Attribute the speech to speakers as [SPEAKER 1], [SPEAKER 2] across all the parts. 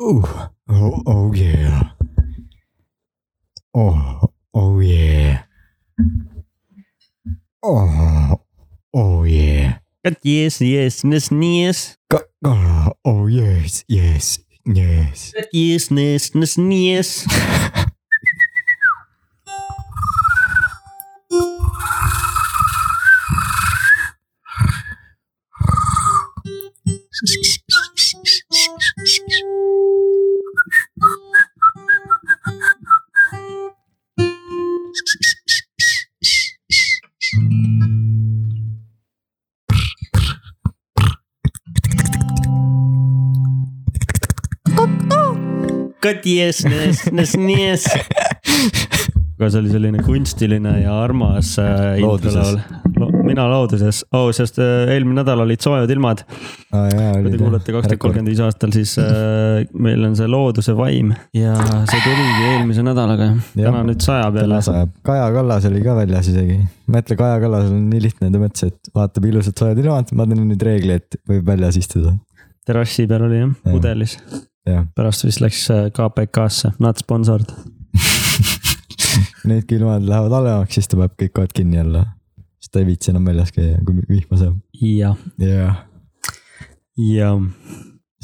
[SPEAKER 1] Oh, oh, oh yeah. Oh, oh yeah. Oh, oh yeah.
[SPEAKER 2] God, yes, yes, yes, yes.
[SPEAKER 1] Go- go- oh yes, yes, yes.
[SPEAKER 2] God, yes, yes, yes, yes. God, yes, yes, yes, yes. aga see oli selline kunstiline ja armas äh,
[SPEAKER 1] Looduses.
[SPEAKER 2] introlaul Lo . mina looduses oh, , sest äh, eelmine nädal olid soojad ilmad .
[SPEAKER 1] aa jaa ,
[SPEAKER 2] kui te kuulete kaks tuhat kolmkümmend viis aastal , siis äh, meil on see looduse vaim ja see tuligi eelmise nädalaga .
[SPEAKER 1] Jah.
[SPEAKER 2] täna nüüd saja peale
[SPEAKER 1] täna . sajab . Kaja Kallas oli ka väljas isegi . mõtle , Kaja Kallasel on nii lihtne , ta mõtles , et vaatab ilusat soojad ilmad , ma teen nüüd reegli , et võib väljas istuda .
[SPEAKER 2] terrassi peal oli jah ,
[SPEAKER 1] Jah.
[SPEAKER 2] pudelis .
[SPEAKER 1] jah ,
[SPEAKER 2] pärast vist läks äh, KPK-sse , not sponsored .
[SPEAKER 1] nüüd kui ilmad lähevad halvemaks , siis ta paneb kõik kohad kinni jälle . siis ta ei viitsi enam väljas käia , kui vihma saab .
[SPEAKER 2] ja ,
[SPEAKER 1] jah .
[SPEAKER 2] ja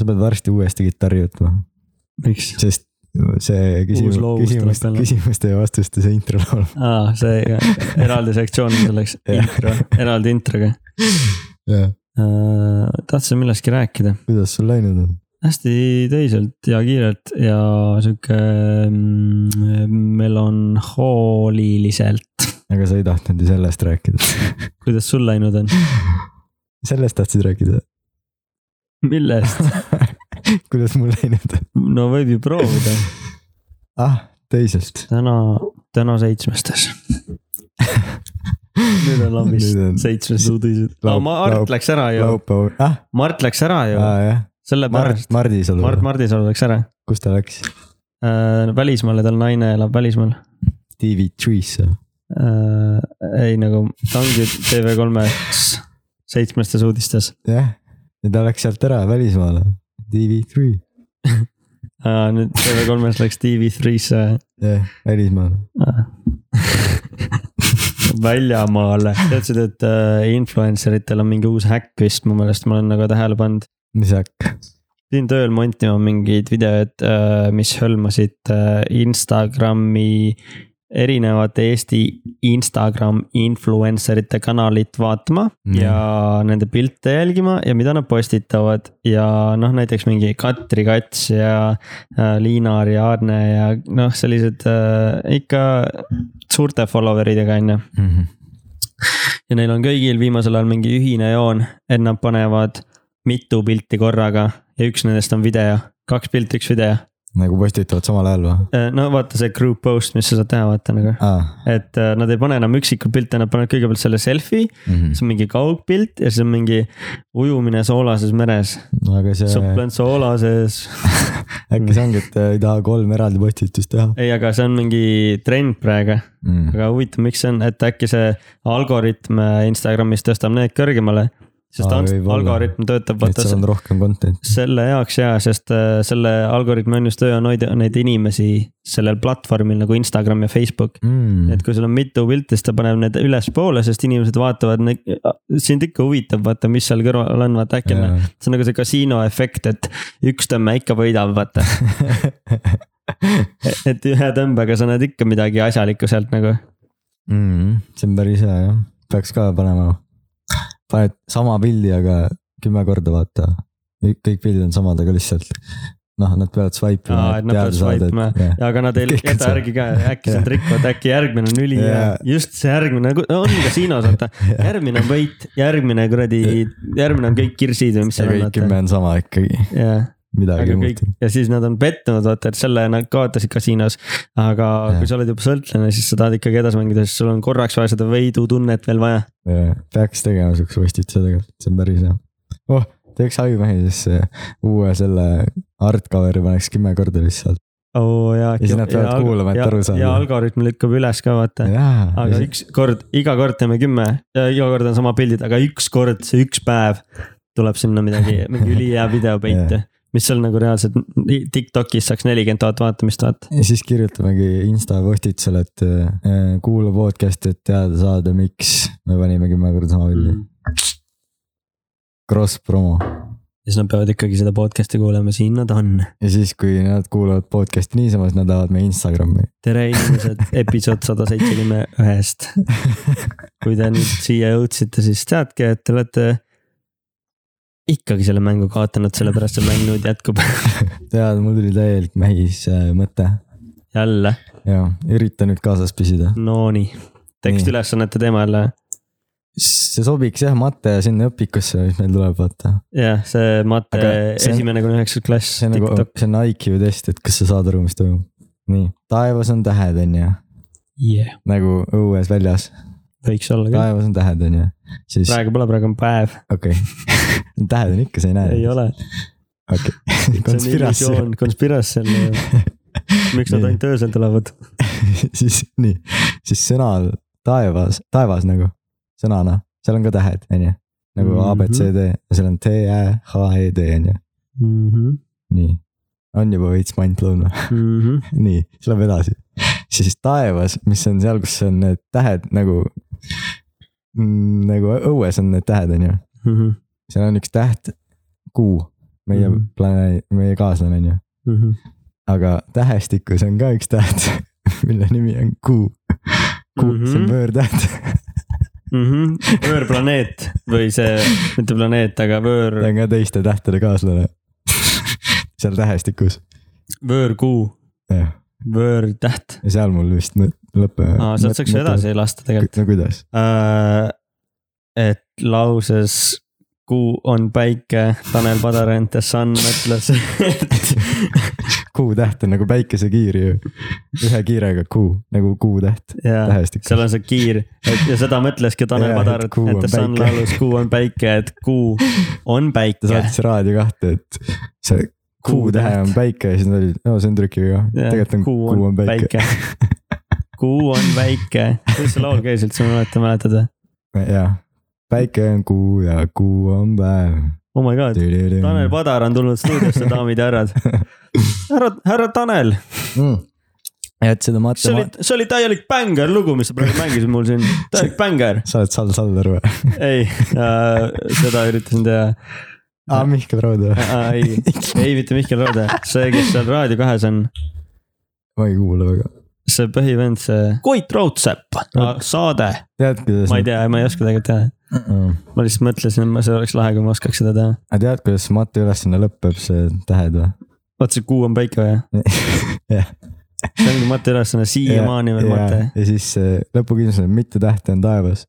[SPEAKER 1] sa pead varsti uuesti kitarri võtma ,
[SPEAKER 2] miks ?
[SPEAKER 1] sest see küsimus
[SPEAKER 2] Uus , loovus tuleb
[SPEAKER 1] küsimuste ,
[SPEAKER 2] peale.
[SPEAKER 1] küsimuste ja vastuste see intro laul .
[SPEAKER 2] aa , see jah. eraldi sektsioon on selleks ,
[SPEAKER 1] Jah.
[SPEAKER 2] intro , eraldi introga .
[SPEAKER 1] jah ,
[SPEAKER 2] tahtsin millestki rääkida ,
[SPEAKER 1] kuidas sul läinud on ?
[SPEAKER 2] hästi töiselt ja kiirelt ja sihuke mm, melanhooliliselt .
[SPEAKER 1] aga sa ei tahtnud ju sellest rääkida .
[SPEAKER 2] kuidas sul läinud on ?
[SPEAKER 1] sellest tahtsid rääkida ?
[SPEAKER 2] millest ?
[SPEAKER 1] kuidas mul läinud on ?
[SPEAKER 2] no võib ju proovida ,
[SPEAKER 1] ah , teiselt .
[SPEAKER 2] täna , täna seitsmestes . nüüd on lambist
[SPEAKER 1] Nüüd on-
[SPEAKER 2] seitsmes uudised . no
[SPEAKER 1] Laup- laup-
[SPEAKER 2] Mart läks ära ju ,
[SPEAKER 1] laupäev , ah ,
[SPEAKER 2] Mart läks ära ju ,
[SPEAKER 1] aa jah , Mart ,
[SPEAKER 2] sellepärast
[SPEAKER 1] Mardis oli
[SPEAKER 2] Mart
[SPEAKER 1] Mart, ,
[SPEAKER 2] Mardisalu läks ära
[SPEAKER 1] kus ta läks ?
[SPEAKER 2] äh, . välismaale , tal naine elab välismaal
[SPEAKER 1] TV3-sse .
[SPEAKER 2] äh, . ei nagu , ta ongi TV3-e seitsmestes uudistes
[SPEAKER 1] jah , ja ta läks sealt ära välismaale , TV3 ,
[SPEAKER 2] äh, . nüüd TV3-s läks TV3-sse
[SPEAKER 1] jah , välismaale .
[SPEAKER 2] äh, väljamaale . teadsid , et äh, influencer itel on mingi uus häkk vist mu meelest , ma olen nagu tähele pannud .
[SPEAKER 1] mis hakk ,
[SPEAKER 2] pidin tööl montima mingeid videoid , mis hõlmasid äh, Instagrami , erinevate Eesti Instagram influencer ite kanalit vaatama
[SPEAKER 1] Mhm.
[SPEAKER 2] mm. ja nende pilte jälgima ja mida nad postitavad ja noh , näiteks mingi Katri Kats ja äh, Liinar ja Arne ja noh , sellised äh, ikka suurte follower idega on ju ja neil on kõigil viimasel ajal mingi ühine joon , et nad panevad mitu pilti korraga ja üks nendest on video , kaks pilti , üks video .
[SPEAKER 1] nagu postitavad samal ajal või ? Ah.
[SPEAKER 2] no vaata see group post , mis sa saad teha , vaata nagu ,
[SPEAKER 1] aa ,
[SPEAKER 2] et eh, nad ei pane enam üksikuid pilte , nad panevad kõigepealt selle selfie , siis on mingi kaugpilt ja siis on mingi ujumine soolases meres ,
[SPEAKER 1] aga see
[SPEAKER 2] supp on soolases .
[SPEAKER 1] äkki see ongi , et äh, ei taha kolm eraldi postitust teha
[SPEAKER 2] ei , aga see on mingi trend praegu
[SPEAKER 1] mm. .
[SPEAKER 2] aga huvitav , miks see on , et äkki see algoritm Instagramis tõstab need kõrgemale , sest
[SPEAKER 1] Aa,
[SPEAKER 2] Aa,
[SPEAKER 1] võib-olla.
[SPEAKER 2] algoritm
[SPEAKER 1] et
[SPEAKER 2] töötab vaata
[SPEAKER 1] seal on rohkem content'i .
[SPEAKER 2] selle jaoks ja , sest äh, selle algoritmi ainus töö on hoida neid inimesi sellel platvormil nagu Instagram ja Facebook .
[SPEAKER 1] Mm.
[SPEAKER 2] et kui sul on mitu pilti , siis ta paneb need ülespoole , sest inimesed vaatavad , sind ikka huvitab vaata , mis seal kõrval on , vaata äkki on , see on nagu see kasiino efekt , et üks tõmme ikka võidab , vaata . et ühe tõmbega sa näed ikka midagi asjalikku sealt nagu
[SPEAKER 1] mm. . see on päris hea jah , peaks ka panema . paned sama pildi , aga kümme korda vaata , kõik pildid on samad , aga lihtsalt noh , nad peavad swipe
[SPEAKER 2] Aa, et nad peavad swipe'ima.
[SPEAKER 1] et
[SPEAKER 2] ja aga nad ei
[SPEAKER 1] Kõik on
[SPEAKER 2] jäta
[SPEAKER 1] seal.
[SPEAKER 2] järgi ka , äkki see on
[SPEAKER 1] Jah.
[SPEAKER 2] trikk , vaata äkki järgmine on ülihea
[SPEAKER 1] Jaa.
[SPEAKER 2] yeah. , just see järgmine , nagu, on kasiinos vaata , järgmine on võit , järgmine kuradi , järgmine on kõik kirsid või mis
[SPEAKER 1] ja
[SPEAKER 2] seal on
[SPEAKER 1] kõik
[SPEAKER 2] vaata .
[SPEAKER 1] kümme on sama ikkagi ,
[SPEAKER 2] jah ,
[SPEAKER 1] midagi
[SPEAKER 2] aga
[SPEAKER 1] ei
[SPEAKER 2] kõik
[SPEAKER 1] muutu .
[SPEAKER 2] ja siis nad on pettunud , vaata , et selle nad kaotasid kasiinos . aga
[SPEAKER 1] Jah.
[SPEAKER 2] kui sa oled juba sõltlane , siis sa tahad ikkagi edasi mängida , sest sul on korraks vaja seda veidutunnet veel vaja .
[SPEAKER 1] peaks tegema siukse postituse tegelikult , see on päris hea . oh , teeks Ajumehi sisse uue selle hardcover'i paneks kümme korda lihtsalt .
[SPEAKER 2] oo jaa .
[SPEAKER 1] Ja siis nad peavad kuulama, et aru saada.
[SPEAKER 2] ja algoritm lükkab üles ka , vaata
[SPEAKER 1] jaa
[SPEAKER 2] aga üks kord , iga kord teeme kümme ja iga kord on sama pildid , aga üks kord , see üks päev tuleb sinna midagi , mingi ülihea video peite , mis seal nagu reaalselt Tiktokis saaks nelikümmend tuhat vaatamist vaata .
[SPEAKER 1] ja siis kirjutamegi Insta postitusele , et äh, kuula podcast'i , et teada saada , miks me panime kümme korda sama pildi .
[SPEAKER 2] ja
[SPEAKER 1] Cross promo
[SPEAKER 2] siis nad peavad ikkagi seda podcast'i kuulama , siin nad on .
[SPEAKER 1] ja siis , kui nad kuulavad podcast'i niisama , siis nad lähevad meie Instagrami .
[SPEAKER 2] tere inimesed , episood sada seitsekümmend ühest . kui te nüüd siia jõudsite , siis teadke , et te olete ikkagi selle mängu kaotanud , sellepärast see mäng nüüd jätkub
[SPEAKER 1] tead , mul tuli täielik mähis äh, mõte
[SPEAKER 2] jälle .
[SPEAKER 1] ja üritan nüüd kaasas püsida .
[SPEAKER 2] Nonii ,
[SPEAKER 1] Nii.
[SPEAKER 2] tekstiülesannete teema jälle .
[SPEAKER 1] see sobiks jah , Mate sinna õpikusse , mis meil tuleb , vaata .
[SPEAKER 2] jah , see mate
[SPEAKER 1] Aga see on-
[SPEAKER 2] esimene kuni üheksas klass ,
[SPEAKER 1] see on nagu
[SPEAKER 2] TikTok ,.
[SPEAKER 1] see on IQ test , et kas sa saad aru , mis toimub . nii , taevas on tähed , on ju ,
[SPEAKER 2] Yeah.
[SPEAKER 1] nagu õues väljas ,
[SPEAKER 2] võiks olla küll ,
[SPEAKER 1] taevas on tähed , on ju , siis
[SPEAKER 2] praegu pole , praegu on päev ,
[SPEAKER 1] okei okay. , tähed on ikka , sa ei näe .
[SPEAKER 2] ei ole .
[SPEAKER 1] okei ,
[SPEAKER 2] see on
[SPEAKER 1] konspiratsioon ,
[SPEAKER 2] illusioon , konspiratsioon . miks
[SPEAKER 1] Nii.
[SPEAKER 2] nad ainult öösel tulevad ?
[SPEAKER 1] siis nii , siis sõnal taevas , taevas nagu sõnana , seal on ka tähed , on ju , nagu
[SPEAKER 2] Mhm.
[SPEAKER 1] A , B , C , D , seal on T , Ä , H , E , D on ju , Mhm, nii on juba veits mindblown või ? nii , siis läheb edasi . siis taevas , mis on seal , kus on need tähed nagu , nagu õues on need tähed , on ju . seal on üks täht , kuu , meie mm
[SPEAKER 2] Mhm.
[SPEAKER 1] -hmm. planeet , meie kaaslane on ju . mhm. aga tähestikus on ka üks täht , mille nimi on kuu . kuu mm , -hmm. see on
[SPEAKER 2] Mhm.
[SPEAKER 1] pöörtäht ,
[SPEAKER 2] võõrplaneet või see , mitte planeet , aga võõr
[SPEAKER 1] ta , on ka teiste tähtede kaaslane . seal tähestikus ,
[SPEAKER 2] võõrkuu ,
[SPEAKER 1] jah ,
[SPEAKER 2] võõrtäht .
[SPEAKER 1] ja seal mul vist mõ- lõpe .
[SPEAKER 2] aa , sealt saaks ju edasi lasta tegelikult .
[SPEAKER 1] no kuidas ,
[SPEAKER 2] Äh, et lauses kuu on päike , Tanel Padar and the sun ütles , et
[SPEAKER 1] kuu täht on nagu päikesekiir ju , ühe kiirega kuu , nagu kuu täht
[SPEAKER 2] jaa
[SPEAKER 1] tähestikus .
[SPEAKER 2] seal on see kiir et ja seda mõtleski Tanel
[SPEAKER 1] Jaa,
[SPEAKER 2] Padar ,
[SPEAKER 1] et kuu
[SPEAKER 2] et
[SPEAKER 1] on
[SPEAKER 2] ta on
[SPEAKER 1] päike.
[SPEAKER 2] laulus Kuu on päike , et kuu on
[SPEAKER 1] ta
[SPEAKER 2] päike .
[SPEAKER 1] saatis Raadio kahte , et see kuu tähe on päike ja siis nad olid , no see on trükiviga , tegelikult on kuu on päike ..
[SPEAKER 2] kuu on päike , kuidas see laul käis üldse , ma ei mäleta , mäletad või ?
[SPEAKER 1] jah , päike on kuu ja kuu on päev .
[SPEAKER 2] oh my god , Tanel Padar on tulnud stuudiosse , daamid ja härrad . härra , härra Tanel ,
[SPEAKER 1] mm. . et seda
[SPEAKER 2] see oli
[SPEAKER 1] matema- ,,
[SPEAKER 2] see oli täielik bängar lugu , mis sa praegu mängisid mul siin , täielik bängar .
[SPEAKER 1] sa oled Sall Saller või ?
[SPEAKER 2] ei äh, , seda üritasin teha
[SPEAKER 1] aa , Ah, Mihkel Raud või ?
[SPEAKER 2] äh, . ei , ei mitte Mihkel Raode , see , kes seal Raadio kahes on
[SPEAKER 1] ma ei kuula väga .
[SPEAKER 2] see põhivend , see . Koit Raudsepp , saade ,
[SPEAKER 1] tead , kuidas
[SPEAKER 2] ma ei . tea , ma ei oska tegelikult teha , ma lihtsalt mõtlesin , et ma- see oleks lahe , kui ma oskaks seda teha .
[SPEAKER 1] aga Ah, tead , kuidas Mati ülesanne lõpeb , see tähed või ?
[SPEAKER 2] vaat see kuu on päike või ?
[SPEAKER 1] jah .
[SPEAKER 2] see ongi Mati ülesanne , siiamaani veel Mati .
[SPEAKER 1] ja siis see lõpukindlus on mitte tähte on taevas .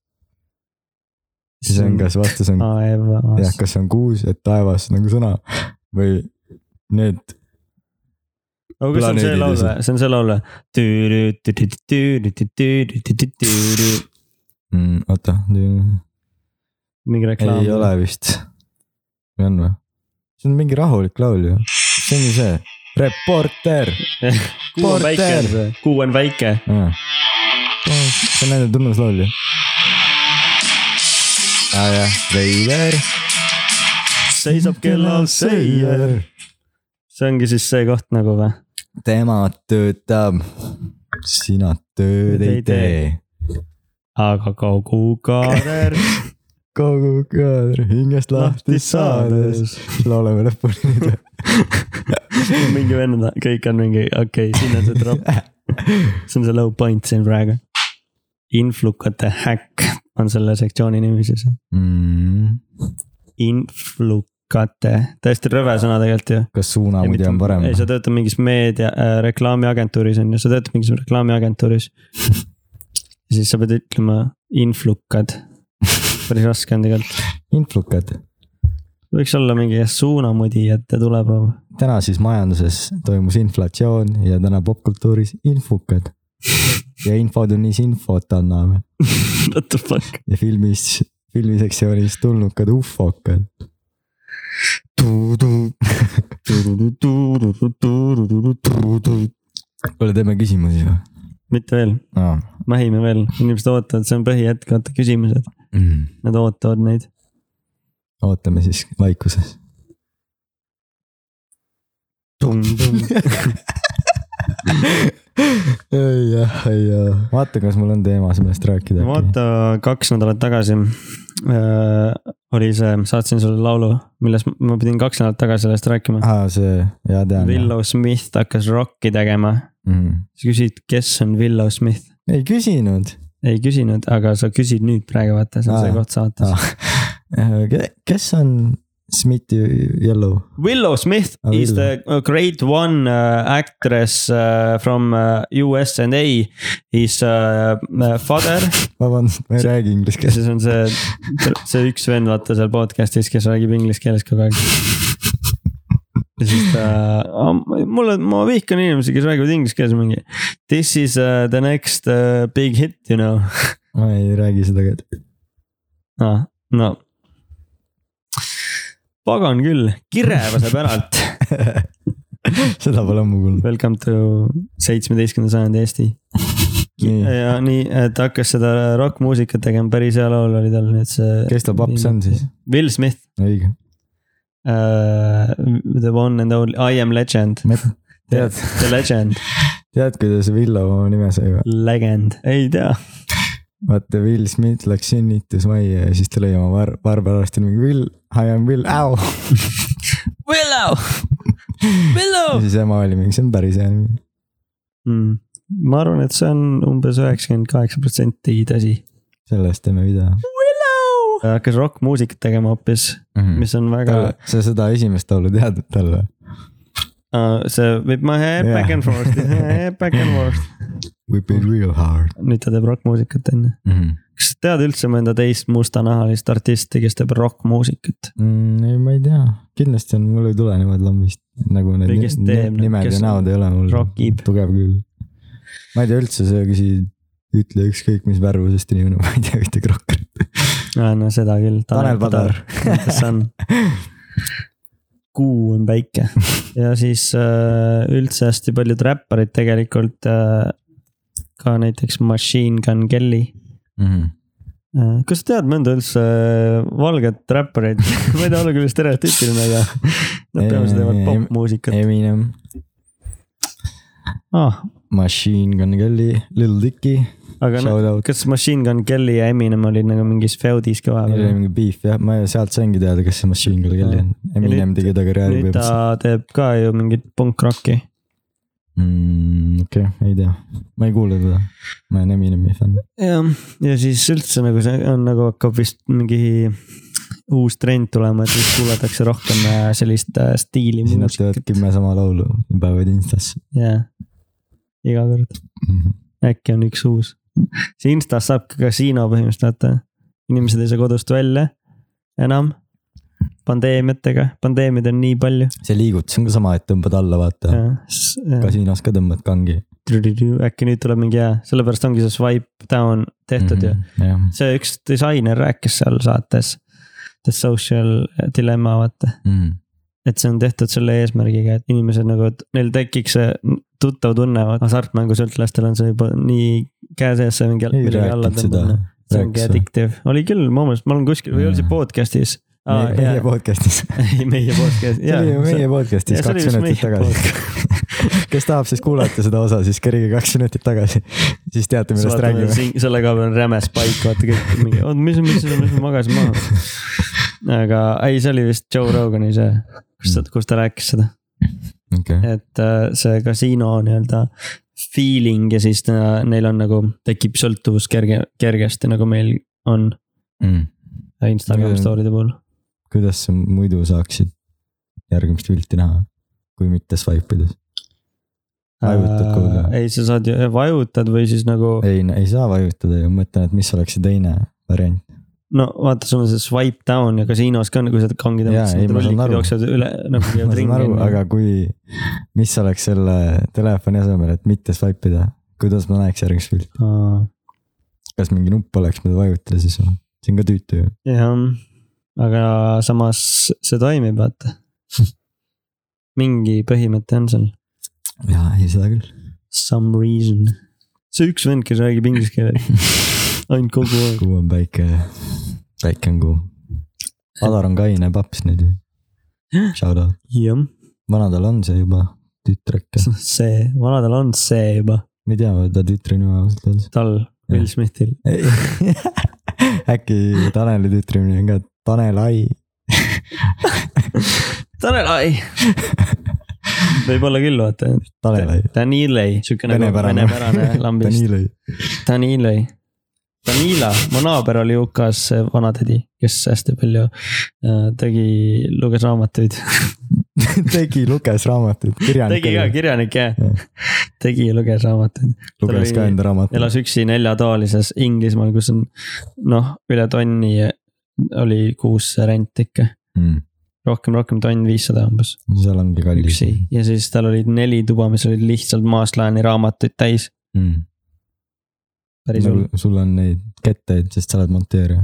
[SPEAKER 1] siis
[SPEAKER 2] Mm.
[SPEAKER 1] on , kas vastus on jah , kas see on kuus , et taevas nagu sõna või need
[SPEAKER 2] aga kas see on see
[SPEAKER 1] planeedid
[SPEAKER 2] laul või , see on see laul või ?
[SPEAKER 1] mm, , oota ,
[SPEAKER 2] mingi reklaam .
[SPEAKER 1] ei ole . vist . või on või ? see on mingi rahulik laul ju , see on ju see , reporter .
[SPEAKER 2] kuu on väike
[SPEAKER 1] Porter. ,
[SPEAKER 2] kuu on väike .
[SPEAKER 1] see on nende tunnuslaul ju . aa jah , veider .
[SPEAKER 2] Ah, seisab kellal seier . see ongi siis see koht nagu või ?
[SPEAKER 1] tema töötab , sina tööd ei
[SPEAKER 2] Ei tee.
[SPEAKER 1] tee .
[SPEAKER 2] aga kogu kaader
[SPEAKER 1] kogu kaadri hingest lahti saades laulame lõpuni nüüd .
[SPEAKER 2] mingi vend , kõik on mingi , okei okay, , siin on see drop , see on see low point siin praegu . influkate häkk on selle sektsiooni nimi siis ,
[SPEAKER 1] mm. .
[SPEAKER 2] influkate , täiesti rõve sõna tegelikult ju .
[SPEAKER 1] kas suuna muidu on parem ?
[SPEAKER 2] ei , sa töötad mingis meedia äh, , reklaamiagentuuris on ju , sa töötad mingis reklaamiagentuuris . siis sa pead ütlema influkad , päris raske on tegelikult ,
[SPEAKER 1] influkad .
[SPEAKER 2] võiks olla mingi jah, suunamudijate tuleproov .
[SPEAKER 1] täna siis majanduses toimus inflatsioon ja täna popkultuuris infukad . ja infotunnis infot anname
[SPEAKER 2] What the fuck ?
[SPEAKER 1] ja filmis , filmisektsioonis tulnukad ufokad . kuule , teeme küsimusi või
[SPEAKER 2] mitte veel ,
[SPEAKER 1] no. ?
[SPEAKER 2] mähime veel , inimesed ootavad , see on põhihetk , vaata küsimused ,
[SPEAKER 1] Mm.
[SPEAKER 2] nad ootavad neid .
[SPEAKER 1] ootame siis vaikuses . ei jah , ei jah . vaata , kas mul on teema sellest rääkida .
[SPEAKER 2] vaata , kaks nädalat tagasi äh, oli see , saatsin sulle laulu , millest ma pidin kaks nädalat tagasi sellest rääkima .
[SPEAKER 1] aa , see , jaa Ah, tean .
[SPEAKER 2] Willow Smith hakkas rocki tegema ,
[SPEAKER 1] Mm.
[SPEAKER 2] sa küsid , kes on Willow Smith ?
[SPEAKER 1] ei küsinud .
[SPEAKER 2] ei küsinud , aga sa küsid nüüd praegu , vaata , see on
[SPEAKER 1] Aa,
[SPEAKER 2] see koht saates .
[SPEAKER 1] Ah. Äh, kes on Smithi Yellow ?
[SPEAKER 2] Willow Smith
[SPEAKER 1] Ah,
[SPEAKER 2] is
[SPEAKER 1] Willow.
[SPEAKER 2] the uh, great one uh, actress uh, from uh, US and A is uh, uh, father .
[SPEAKER 1] vabandust , ma ei
[SPEAKER 2] See-
[SPEAKER 1] räägi inglise keeles .
[SPEAKER 2] siis on see , see üks vend , vaata seal podcast'is , kes räägib inglise keeles kogu aeg . ja siis ta , mulle , ma vihkan inimesi , kes räägivad inglise keeles mingi . This is uh, the next uh, big hit , you know
[SPEAKER 1] ma ei räägi seda ka .
[SPEAKER 2] ah, . no pagan küll , kirevase päralt .
[SPEAKER 1] seda pole ammu kuulnud .
[SPEAKER 2] Welcome to seitsmeteistkümnenda sajandi Eesti .
[SPEAKER 1] nii ,
[SPEAKER 2] ja nii , ta hakkas seda rokkmuusikat tegema , päris hea laul oli tal , nii et see
[SPEAKER 1] kes ta paps on siis ?
[SPEAKER 2] Will Smith
[SPEAKER 1] õige .
[SPEAKER 2] uh, , The One and Only , I am legend ,
[SPEAKER 1] tead ,
[SPEAKER 2] The legend ,
[SPEAKER 1] tead , kuidas Villo oma nime sai või ?
[SPEAKER 2] legend , ei tea .
[SPEAKER 1] vaata , Will Smith läks sünnitusmajja ja siis ta lõi oma var- , varba pärast ja mingi Will , I am Will , au .
[SPEAKER 2] Willow ,
[SPEAKER 1] ja
[SPEAKER 2] Willow
[SPEAKER 1] siis ema oli mingi , see on päris hea nimi .
[SPEAKER 2] mm. . ma arvan , et see on umbes üheksakümmend kaheksa protsenti tõsi .
[SPEAKER 1] sellest teeme video
[SPEAKER 2] Willow . ta hakkas rokkmuusikat tegema hoopis ,
[SPEAKER 1] mm. .
[SPEAKER 2] mis on väga
[SPEAKER 1] Tal , sa seda esimest laulu tead talle ?
[SPEAKER 2] uh, see võib ma yeah.
[SPEAKER 1] Jah.
[SPEAKER 2] back and forth , back and forth .
[SPEAKER 1] Whip it real hard
[SPEAKER 2] nüüd ta teeb rokkmuusikat on ju .
[SPEAKER 1] mm. .
[SPEAKER 2] kas sa tead üldse mõnda teist mustanahalist artisti , kes teeb rokkmuusikat ?
[SPEAKER 1] Mm, ei , ma ei tea , kindlasti on , mul ei tule niimoodi lambist nagu need
[SPEAKER 2] Või
[SPEAKER 1] ni-
[SPEAKER 2] kes teeb
[SPEAKER 1] ni-
[SPEAKER 2] nagu,
[SPEAKER 1] nimed
[SPEAKER 2] kes
[SPEAKER 1] ja näod ei ole mul
[SPEAKER 2] rockib?
[SPEAKER 1] tugev küll . ma ei tea üldse , sa küsid , ütle ükskõik mis värvusest inimene , ma ei tea ühtegi rokkerit .
[SPEAKER 2] no seda küll .
[SPEAKER 1] Tanel Padar. .
[SPEAKER 2] kes on ? kuu on päike ja siis äh, üldse hästi paljud räpparid tegelikult äh, . ka näiteks Machine Gun Kelly . kas sa tead mõnda üldse valget räpparit ? ma ei taha olla küll stereotüüpiline , aga nad peamiselt teevad
[SPEAKER 1] Ei,
[SPEAKER 2] popmuusikat .
[SPEAKER 1] Eminem ,
[SPEAKER 2] Ah,
[SPEAKER 1] Machine Gun Kelly , Lil Dicky ,
[SPEAKER 2] aga no,
[SPEAKER 1] shout out .
[SPEAKER 2] kas Machine Gun Kelly ja Eminem olid nagu mingis feudis ka
[SPEAKER 1] Neil oli
[SPEAKER 2] vahepeal ?
[SPEAKER 1] mingi beef jah , ma sealt saingi teada , kes see Machine Gun Kelly on . Eminem
[SPEAKER 2] nüüd-
[SPEAKER 1] tegi ta karjääri
[SPEAKER 2] nüüd
[SPEAKER 1] põhimõtteliselt .
[SPEAKER 2] ta teeb ka ju mingit punkrocki .
[SPEAKER 1] Mm, okei , ei tea , ma ei kuule teda , ma olen Eminemi fänn .
[SPEAKER 2] jah , ja siis üldse nagu see on nagu hakkab vist mingi uus trend tulema , et vist kuulatakse rohkem äh, sellist äh, stiili
[SPEAKER 1] siis nad teevad
[SPEAKER 2] muusikat
[SPEAKER 1] kümme sama laulu , päevad Instasse .
[SPEAKER 2] ja iga kord Mhm. äkki on üks uus . see Instas saab ka kasiino põhimõtteliselt , vaata . inimesed ei saa kodust välja enam pandeemiatega , pandeemiaid on nii palju .
[SPEAKER 1] see liigutus on ka sama , et tõmbad alla , vaata . kasiinos ka tõmbad kangi .
[SPEAKER 2] äkki nüüd tuleb mingi hea , sellepärast ongi see swipe down tehtud ju .
[SPEAKER 1] Mhm. jah .
[SPEAKER 2] see üks disainer rääkis seal saates , The Social Dilemma , vaata .
[SPEAKER 1] Mhm.
[SPEAKER 2] et see on tehtud selle eesmärgiga , et inimesed nagu , et neil tekiks see tuttav tunne , vaata hasartmängusõltlastel on see juba nii käe sees , see mingi
[SPEAKER 1] ei
[SPEAKER 2] millegi alla noh.
[SPEAKER 1] rääkinud seda
[SPEAKER 2] tõmbamine .. see ongi
[SPEAKER 1] rääkis või?
[SPEAKER 2] addictive , oli küll , mu meelest ma olen kuskil või oli see
[SPEAKER 1] Jaa.
[SPEAKER 2] podcast'is ?
[SPEAKER 1] meie podcast'is .
[SPEAKER 2] ei , meie podcast ,
[SPEAKER 1] see
[SPEAKER 2] jaa .
[SPEAKER 1] oli ju meie podcast'is
[SPEAKER 2] jaa, see oli
[SPEAKER 1] kaks
[SPEAKER 2] just
[SPEAKER 1] minutit
[SPEAKER 2] meie
[SPEAKER 1] tagasi . kes tahab siis kuulata seda osa , siis kerige kaks minutit tagasi . siis teate , millest räägime .
[SPEAKER 2] selle koha peal on räme spike , vaata kõik mingi , oot , mis , mis , mis ma magasin maha . aga ei , see oli vist Joe Rogani see , kus ta , kus ta rääkis seda ,
[SPEAKER 1] okei ,
[SPEAKER 2] et äh, see kasiino nii-öelda feeling ja siis ta, neil on nagu , tekib sõltuvus kerge , kergesti , nagu meil on äh, Instagram
[SPEAKER 1] Mm.
[SPEAKER 2] story de puhul .
[SPEAKER 1] kuidas sa muidu saaksid järgmist pilti näha , kui mitte swipe ides ? Vajutad kogu aeg.
[SPEAKER 2] Äh, ei , sa saad ju , vajutad või siis nagu ,
[SPEAKER 1] ei , ei saa vajutada ju , ma mõtlen , et mis oleks see teine variant .
[SPEAKER 2] no vaata , sul on see swipe down ja kasiinos ka , kui sa kangi
[SPEAKER 1] Jaa, ei,
[SPEAKER 2] tõmbad , siis need
[SPEAKER 1] ma saan
[SPEAKER 2] rullikud
[SPEAKER 1] aru.
[SPEAKER 2] jooksevad üle nagu
[SPEAKER 1] ma
[SPEAKER 2] jäävad
[SPEAKER 1] saan
[SPEAKER 2] ringi
[SPEAKER 1] aru ,. aga kui , mis oleks selle telefoni asemel , et mitte swipe ida , kuidas ma näeks järgmist pilti ,
[SPEAKER 2] aga
[SPEAKER 1] kas mingi nupp oleks , mida vajutada siis või ? see on ka tüütu ju .
[SPEAKER 2] jah , aga samas see toimib , vaata . mingi põhimõte on seal ,
[SPEAKER 1] jaa , ei seda küll .
[SPEAKER 2] some reason . see üks vend , kes räägib inglise keeles , ainult kogu aeg .
[SPEAKER 1] kuu on päike , päike on kuu . Alar on kaine paps nüüd ju . Shout out ,
[SPEAKER 2] jah ,
[SPEAKER 1] vana tal on see juba tütre äkki ,
[SPEAKER 2] see , vana tal on see juba ,
[SPEAKER 1] ma ei tea , ta tütre nime ausalt öeldes .
[SPEAKER 2] tal , Will Smithil .
[SPEAKER 1] äkki Taneli tütre nimi on ka Tanel Ai .
[SPEAKER 2] Tanel Ai . võib-olla küll , vaata .
[SPEAKER 1] Tanel Ai ,
[SPEAKER 2] Danilei , siuke nagu
[SPEAKER 1] Venepärane.
[SPEAKER 2] venepärane lambist .
[SPEAKER 1] Tanil Ai .
[SPEAKER 2] Danilei . Danila , mu naaber oli UK-s see vanatädi , kes hästi palju äh, tegi , luges raamatuid .
[SPEAKER 1] tegi , luges raamatuid , kirjanik
[SPEAKER 2] tegi ka , kirjanik jah
[SPEAKER 1] Jah. .
[SPEAKER 2] tegi ja luges raamatuid .
[SPEAKER 1] luges ka
[SPEAKER 2] oli-
[SPEAKER 1] enda raamatut .
[SPEAKER 2] elas üksi neljatoalises Inglismaal , kus on noh , üle tonni oli kuus see rent ikka . rohkem , rohkem tonn viissada umbes ,
[SPEAKER 1] Mm. seal ongi kallis .
[SPEAKER 2] üksi ja siis tal olid neli tuba , mis olid lihtsalt maaslaeni raamatuid täis . päris
[SPEAKER 1] Mm.
[SPEAKER 2] hull ,
[SPEAKER 1] Nagu sul on neid ketteid , sest sa oled monteerija .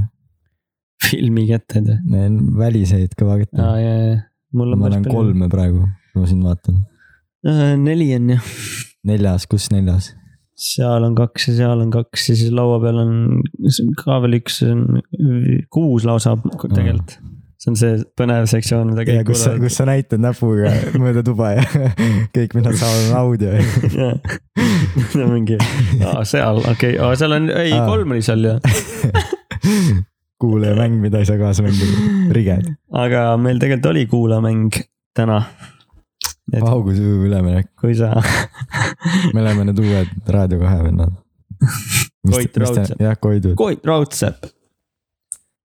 [SPEAKER 2] filmiketted ja ,
[SPEAKER 1] väliseid kõva
[SPEAKER 2] ja ,
[SPEAKER 1] ketteid .
[SPEAKER 2] ja , ja mul on Äh,
[SPEAKER 1] ma olen . kolme praegu , kui ma sind vaatan .
[SPEAKER 2] neli on jah ,
[SPEAKER 1] neljas , kus neljas ?
[SPEAKER 2] seal on kaks ja seal on kaks ja siis laua peal on s- ka veel üks , kuus lausa tegelikult . see on see põnev sektsioon , mida
[SPEAKER 1] ja
[SPEAKER 2] kõik
[SPEAKER 1] kus sa , kus sa näitad näpuga mööda tuba ja kõik , mis nad saavad , on audio .
[SPEAKER 2] Jaa. no mingi , seal , okei okay. , seal on , ei
[SPEAKER 1] Aa.
[SPEAKER 2] kolm oli seal ju ,
[SPEAKER 1] kuulajamäng , mida ei saa kaasa mängida . riged ,
[SPEAKER 2] aga meil tegelikult oli kuulamäng täna . et
[SPEAKER 1] paugu süü üleminek ,
[SPEAKER 2] kui sa ,
[SPEAKER 1] me oleme need uued Raadio kahe vennad .
[SPEAKER 2] Koit Raudsepp.
[SPEAKER 1] jah , Koidud ,
[SPEAKER 2] Koit Raudsepp .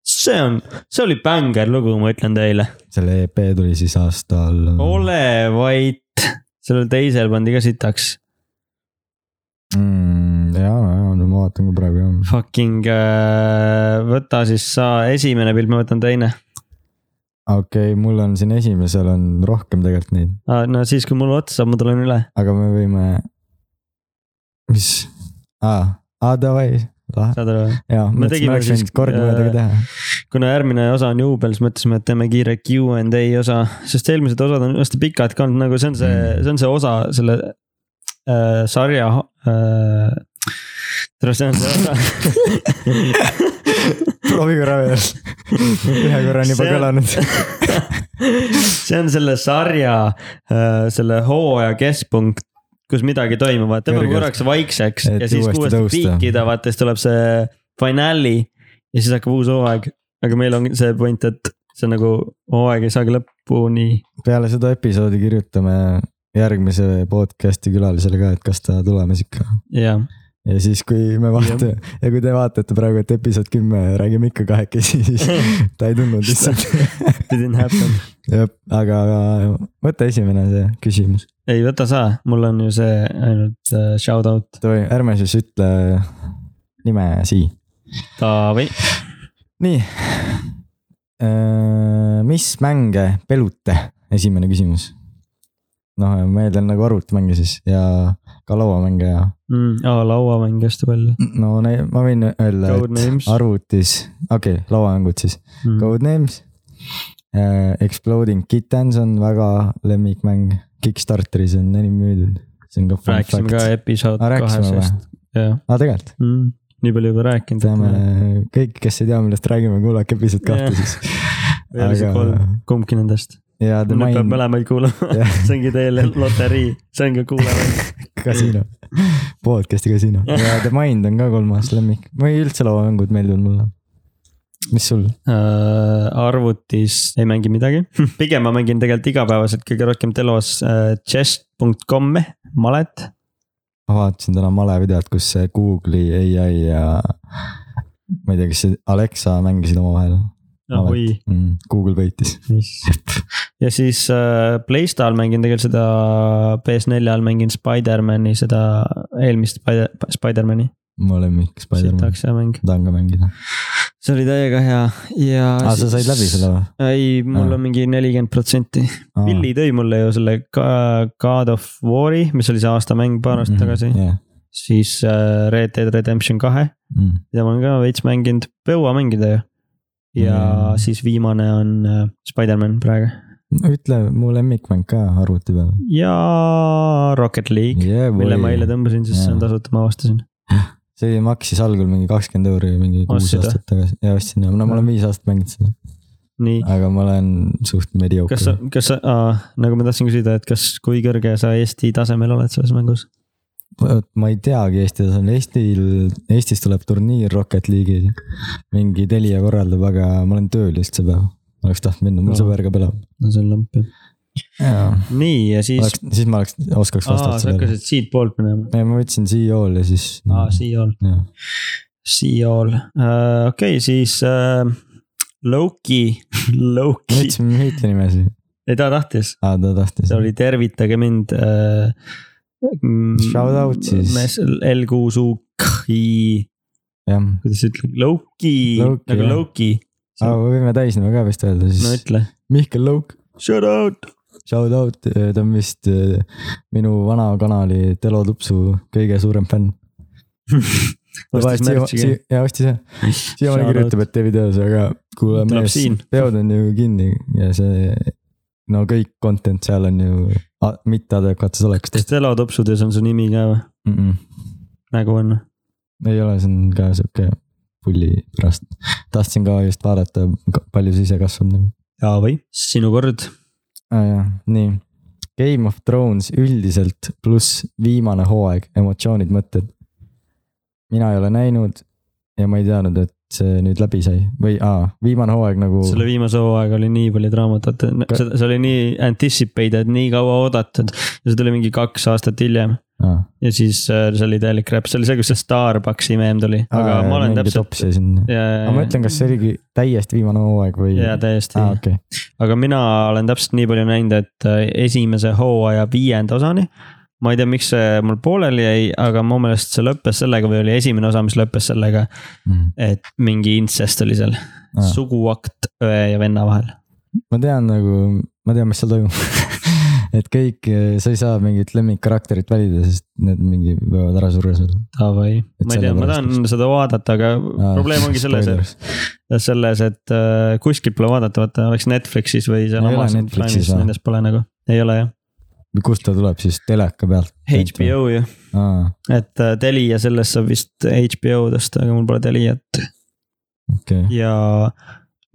[SPEAKER 2] see on , see oli bängar lugu , ma ütlen teile ,
[SPEAKER 1] selle EP tuli siis aastal .
[SPEAKER 2] ole vait , sellel teisel pandi ka sitaks .
[SPEAKER 1] mm, . ja , ja , no ma vaatan ka praegu jah .
[SPEAKER 2] Fucking äh, võta siis sa esimene pilt , ma võtan teine .
[SPEAKER 1] okei okay, , mul on siin esimesel on rohkem tegelikult neid ,
[SPEAKER 2] no siis , kui mul otsa saab , ma tulen üle .
[SPEAKER 1] aga me võime . mis ah, , aa davai , lahe ,
[SPEAKER 2] saad aru ?
[SPEAKER 1] jaa ,
[SPEAKER 2] Me
[SPEAKER 1] me
[SPEAKER 2] tegime
[SPEAKER 1] oleks
[SPEAKER 2] siis-
[SPEAKER 1] võinud kord mööda ka teha .
[SPEAKER 2] kuna järgmine osa on juubel , siis mõtlesime , et teeme kiire Q and A osa , sest eelmised osad on hästi pikad ka olnud , nagu see on see ,
[SPEAKER 1] Mm.
[SPEAKER 2] see on see osa selle äh, sarja äh, . tere , see on see osa .
[SPEAKER 1] proovi korra veel , ühe korra on juba
[SPEAKER 2] See on-
[SPEAKER 1] kõlanud .
[SPEAKER 2] see on selle sarja äh, , selle hooaja keskpunkt , kus midagi toimub , vaata , tõmbame
[SPEAKER 1] Kõrgelt.
[SPEAKER 2] korraks vaikseks
[SPEAKER 1] Et
[SPEAKER 2] ja siis
[SPEAKER 1] uuesti
[SPEAKER 2] kui uuesti
[SPEAKER 1] tõusta.
[SPEAKER 2] piikida , vaata siis tuleb see finaali ja siis hakkab uus hooaeg . aga meil on see point , et see on nagu hooaeg ei saagi lõpuni
[SPEAKER 1] peale seda episoodi kirjutame järgmise podcast'i külalisele ka , et kas ta tulemas ikka
[SPEAKER 2] jah ,
[SPEAKER 1] ja siis , kui me vaatame ja kui te vaatate praegu , et episood kümme , räägime ikka kahekesi , siis ta ei tulnud lihtsalt .
[SPEAKER 2] didn't happen .
[SPEAKER 1] jah , aga võta esimene see küsimus .
[SPEAKER 2] ei võta sa , mul on ju see ainult äh, shout out
[SPEAKER 1] davai , ärme siis ütle nime sii .
[SPEAKER 2] Taavi .
[SPEAKER 1] nii . mis mänge pelute ? esimene küsimus . noh , ma eeldan nagu arvutimänge siis ja ka lauamänge ja
[SPEAKER 2] Mm, oh, lauamäng hästi palju
[SPEAKER 1] no ne- ma võin öelda ,
[SPEAKER 2] Codenames.
[SPEAKER 1] et arvutis , okei okay, , lauamängud siis .
[SPEAKER 2] mm. .
[SPEAKER 1] Codenames . Exploding Kittens on väga lemmikmäng , Kickstarteris on enim müüdud , see on ka fun
[SPEAKER 2] rääkisime ka
[SPEAKER 1] fact .
[SPEAKER 2] episood
[SPEAKER 1] Aa, rääkisime
[SPEAKER 2] kahesest , jah
[SPEAKER 1] aa , tegelikult
[SPEAKER 2] mm. . nii palju juba rääkinud .
[SPEAKER 1] teame kõik , kes ei tea , millest räägime , kuulake episood kahte
[SPEAKER 2] Jah.
[SPEAKER 1] siis .
[SPEAKER 2] või oli see
[SPEAKER 1] aga-
[SPEAKER 2] kolm , kumbki nendest .
[SPEAKER 1] ja The
[SPEAKER 2] nüüd peab
[SPEAKER 1] Mind
[SPEAKER 2] mõlemaid kuulama ,
[SPEAKER 1] Jah.
[SPEAKER 2] see ongi teile loterii , see on ka kuulamäng .
[SPEAKER 1] Casino , podcast'i Casino ja The Mind on ka kolmas lemmik , ma ei üldse lauamängud meeldinud mulle . mis sul ?
[SPEAKER 2] äh, arvutis ei mängi midagi , pigem ma mängin tegelikult igapäevaselt kõige rohkem telos äh, chess.com-e , malet .
[SPEAKER 1] ma vaatasin täna malevideot , kus see Google'i ai ja ma ei tea , kas see Alexa mängisid omavahel
[SPEAKER 2] ah
[SPEAKER 1] Malet.
[SPEAKER 2] oi ,
[SPEAKER 1] mm, . Google võitis .
[SPEAKER 2] Issand. ja siis äh, Playstal mängin tegelikult seda PS4-l mängin Spider-man'i , seda eelmist Spider- , Spider-man'i .
[SPEAKER 1] mu lemmik Spider-man ,
[SPEAKER 2] sitaks hea mäng ,
[SPEAKER 1] tahan ka mängida .
[SPEAKER 2] see oli täiega hea ja .
[SPEAKER 1] aa , Ah, sa said läbi selle ? või ? Ah.
[SPEAKER 2] ei , mul
[SPEAKER 1] Aa.
[SPEAKER 2] on mingi nelikümmend protsenti . Pilli tõi mulle ju selle Ga- God of War'i , mis oli see aasta mäng paar aastat tagasi ,
[SPEAKER 1] Mhm, jah ,
[SPEAKER 2] siis äh, Red Dead Redemption kahe ,
[SPEAKER 1] Mm.
[SPEAKER 2] mida ma olen ka veits mänginud , põua mängida ju . ja
[SPEAKER 1] Mm.
[SPEAKER 2] siis viimane on äh, Spider-man praegu
[SPEAKER 1] ütle mu lemmikmäng ka arvuti peal .
[SPEAKER 2] ja Rocket League , mille ma eile
[SPEAKER 1] see
[SPEAKER 2] tõmbasin , sest see on
[SPEAKER 1] Jaa.
[SPEAKER 2] tasuta , ma avastasin .
[SPEAKER 1] maksis algul mingi kakskümmend euri mingi kuus
[SPEAKER 2] Ostsid,
[SPEAKER 1] aastat tagasi ja ostsin ja no ma olen viis aastat mänginud seda .
[SPEAKER 2] nii ,
[SPEAKER 1] aga ma olen suht mediocre
[SPEAKER 2] kas sa , kas sa , nagu ma tahtsin küsida , et kas , kui kõrge sa Eesti tasemel oled selles mängus ?
[SPEAKER 1] Vot ma ei teagi Eesti tasemel , Eestil , Eestis tuleb turniir Rocket League'is . mingi Telia korraldab , aga ma olen tööl just see päev . oleks tahtnud minna , mul
[SPEAKER 2] Aa.
[SPEAKER 1] sõber ka pelab .
[SPEAKER 2] no see on lamp jah . nii ja siis ,
[SPEAKER 1] oleks , siis ma oleks , oskaks
[SPEAKER 2] aa
[SPEAKER 1] vastata
[SPEAKER 2] sa
[SPEAKER 1] sellele . Mm.
[SPEAKER 2] hakkasid siitpoolt minema ,
[SPEAKER 1] ei , ma võtsin CO-l ja siis .
[SPEAKER 2] aa siia-all ,
[SPEAKER 1] jah ,
[SPEAKER 2] siia-all , okei , siis äh, . Loki ,
[SPEAKER 1] ma
[SPEAKER 2] Loki ,
[SPEAKER 1] võtsin Müütli nimesi .
[SPEAKER 2] ei ta tahtis ,
[SPEAKER 1] aa , ta tahtis
[SPEAKER 2] see . oli tervitage mind äh, . mm,
[SPEAKER 1] Shout out siis.
[SPEAKER 2] L-Q-S-U-K-I ,
[SPEAKER 1] jah ,
[SPEAKER 2] kuidas sa ütled , Loki ,
[SPEAKER 1] Loki,
[SPEAKER 2] nagu
[SPEAKER 1] jah.
[SPEAKER 2] Loki ,
[SPEAKER 1] aga me võime täisnime ka vist öelda
[SPEAKER 2] no
[SPEAKER 1] siis .
[SPEAKER 2] ütle .
[SPEAKER 1] Mihkel Lõuk ,
[SPEAKER 2] Shout out .
[SPEAKER 1] shout out , ta on vist eh, minu vana kanali Telo Tupsu kõige suurem fänn . E ja ostis jah . siiamaani kirjutab , et tee videos , aga kuule
[SPEAKER 2] Tuleb
[SPEAKER 1] mees
[SPEAKER 2] siin. ,
[SPEAKER 1] peod on ju kinni ja see , no kõik content seal on ju a- mitteadekvaatses oleks
[SPEAKER 2] kas Telo topsudes on su nimi ka või ?
[SPEAKER 1] mm . -mm.
[SPEAKER 2] nagu on .
[SPEAKER 1] ei ole , see on ka sihuke pulli pärast . tahtsin ka just vaadata , palju see ise kasvab nagu .
[SPEAKER 2] jaa või ? sinu kord .
[SPEAKER 1] aa jaa , nii . Game of Thrones üldiselt pluss viimane hooaeg , emotsioonid , mõtted . mina ei ole näinud ja ma ei teadnud , et see nüüd läbi sai või aa , viimane hooaeg nagu .
[SPEAKER 2] selle viimase hooaega oli nii palju draamat , et
[SPEAKER 1] Ka-
[SPEAKER 2] see see oli nii anticipated , nii kaua oodatud ja see tuli mingi kaks aastat hiljem
[SPEAKER 1] Aa,
[SPEAKER 2] ja siis äh, see oli täielik räpp , see oli see , kus see Starbucksi meem tuli , aga ma olen täpselt .
[SPEAKER 1] aga ma
[SPEAKER 2] ja ,
[SPEAKER 1] mõtlen , kas see oligi täiesti viimane hooaeg või ?
[SPEAKER 2] ja täiesti
[SPEAKER 1] aa , okei ,
[SPEAKER 2] aga mina olen täpselt nii palju näinud , et äh, esimese hooaja viienda osani . ma ei tea , miks see mul pooleli jäi , aga mu meelest see lõppes sellega või oli esimene osa , mis lõppes sellega , et mingi intsest oli seal .
[SPEAKER 1] Aa.
[SPEAKER 2] suguakt õe ja venna vahel .
[SPEAKER 1] ma tean nagu , ma tean , mis seal toimub . et kõik , sa ei saa mingit lemmikkarakterit valida , sest need mingi võivad ära surra sul .
[SPEAKER 2] Davai ,
[SPEAKER 1] Et
[SPEAKER 2] ma ei tea , ma
[SPEAKER 1] sellepärast
[SPEAKER 2] tahan seda vaadata , aga probleem ongi selles , et , selles , et äh, kuskilt pole vaadata , vaata oleks Netflixis või seal
[SPEAKER 1] Ei ole
[SPEAKER 2] Amazon
[SPEAKER 1] Netflixis
[SPEAKER 2] Prime'is ,
[SPEAKER 1] või?
[SPEAKER 2] nendes pole nagu , ei ole jah .
[SPEAKER 1] kust ta tuleb siis , teleka pealt ? Ah,
[SPEAKER 2] HBO ju ,
[SPEAKER 1] aa ,
[SPEAKER 2] et äh, Telia sellest saab vist HBO tõsta , aga mul pole Teliat
[SPEAKER 1] okei okay. ,
[SPEAKER 2] ja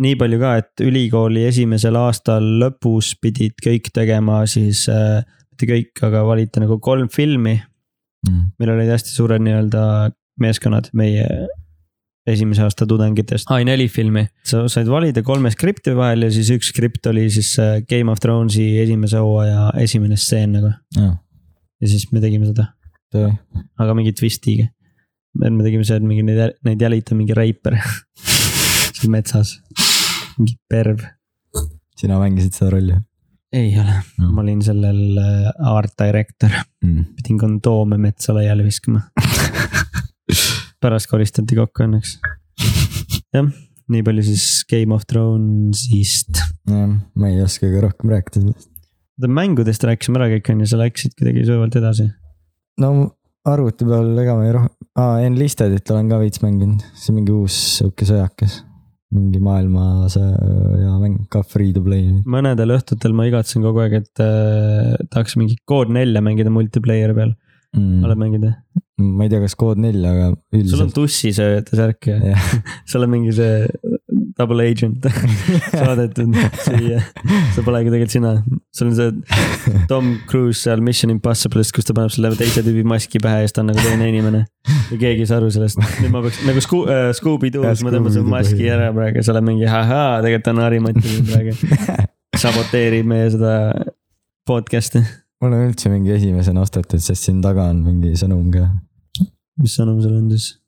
[SPEAKER 2] nii palju ka , et ülikooli esimesel aastal lõpus pidid kõik tegema siis äh, , mitte kõik , aga valiti nagu kolm filmi ,
[SPEAKER 1] Mm.
[SPEAKER 2] meil olid hästi suured nii-öelda meeskonnad meie esimese aasta tudengitest . ai , neli filmi , sa said valida kolme skripti vahel ja siis üks skript oli siis äh, Game of Thronesi esimese hooaja esimene stseen nagu
[SPEAKER 1] jaa ,
[SPEAKER 2] ja siis me tegime seda ,
[SPEAKER 1] töö .
[SPEAKER 2] aga mingi twistiga . me me tegime seal mingi neid , neid jälitab mingi reiper seal metsas , mingi perv
[SPEAKER 1] sina mängisid seda rolli
[SPEAKER 2] ei ole
[SPEAKER 1] No.
[SPEAKER 2] no. , ma olin sellel äh, art director ,
[SPEAKER 1] mm. ?
[SPEAKER 2] pidin kondoome metsa laiali viskama . pärast koristati kokku õnneks . jah , nii palju siis Game of Thrones'ist .
[SPEAKER 1] jah , ma ei oska ka rohkem rääkida sellest .
[SPEAKER 2] oota , mängudest rääkisime ära kõik on ju , sa läksid kuidagi sujuvalt edasi .
[SPEAKER 1] no arvuti peal ega ma ei roh- , aa , Enlistedit olen ka veits mänginud , see on mingi uus sihuke sõjakas . mingi maailmasõja mäng , ka free to play .
[SPEAKER 2] mõnedel õhtutel ma igatsen kogu aeg , et äh, tahaks mingit Code nelja mängida multiplayer'i peal mm. , oled
[SPEAKER 1] Mm.
[SPEAKER 2] mänginud jah ?
[SPEAKER 1] ma ei tea , kas kood nelja , aga
[SPEAKER 2] sul on
[SPEAKER 1] üldiselt .
[SPEAKER 2] tussi see särk ju ,
[SPEAKER 1] jah ,
[SPEAKER 2] sa oled mingi see double agent saadetud siia . see polegi tegelikult sina , sul on see Tom Cruise seal Mission Impossible'is , kus ta paneb selle teise tüübi maski pähe ja siis ta on nagu teine inimene . ja keegi ei saa aru sellest , nüüd ma peaks nagu Scu- äh,
[SPEAKER 1] Jah,
[SPEAKER 2] Scooby-Doo's , ma tõmban selle
[SPEAKER 1] Scooby-Doo
[SPEAKER 2] maski
[SPEAKER 1] põhimõte.
[SPEAKER 2] ära praegu , seal on mingi ahaa , tegelikult on Harimati siin praegu . saboteerib meie seda podcast'i ,
[SPEAKER 1] mul on üldse mingi esimesena ostetud , sest siin taga on mingi sõnum ka .
[SPEAKER 2] mis sõnum sul on siis ,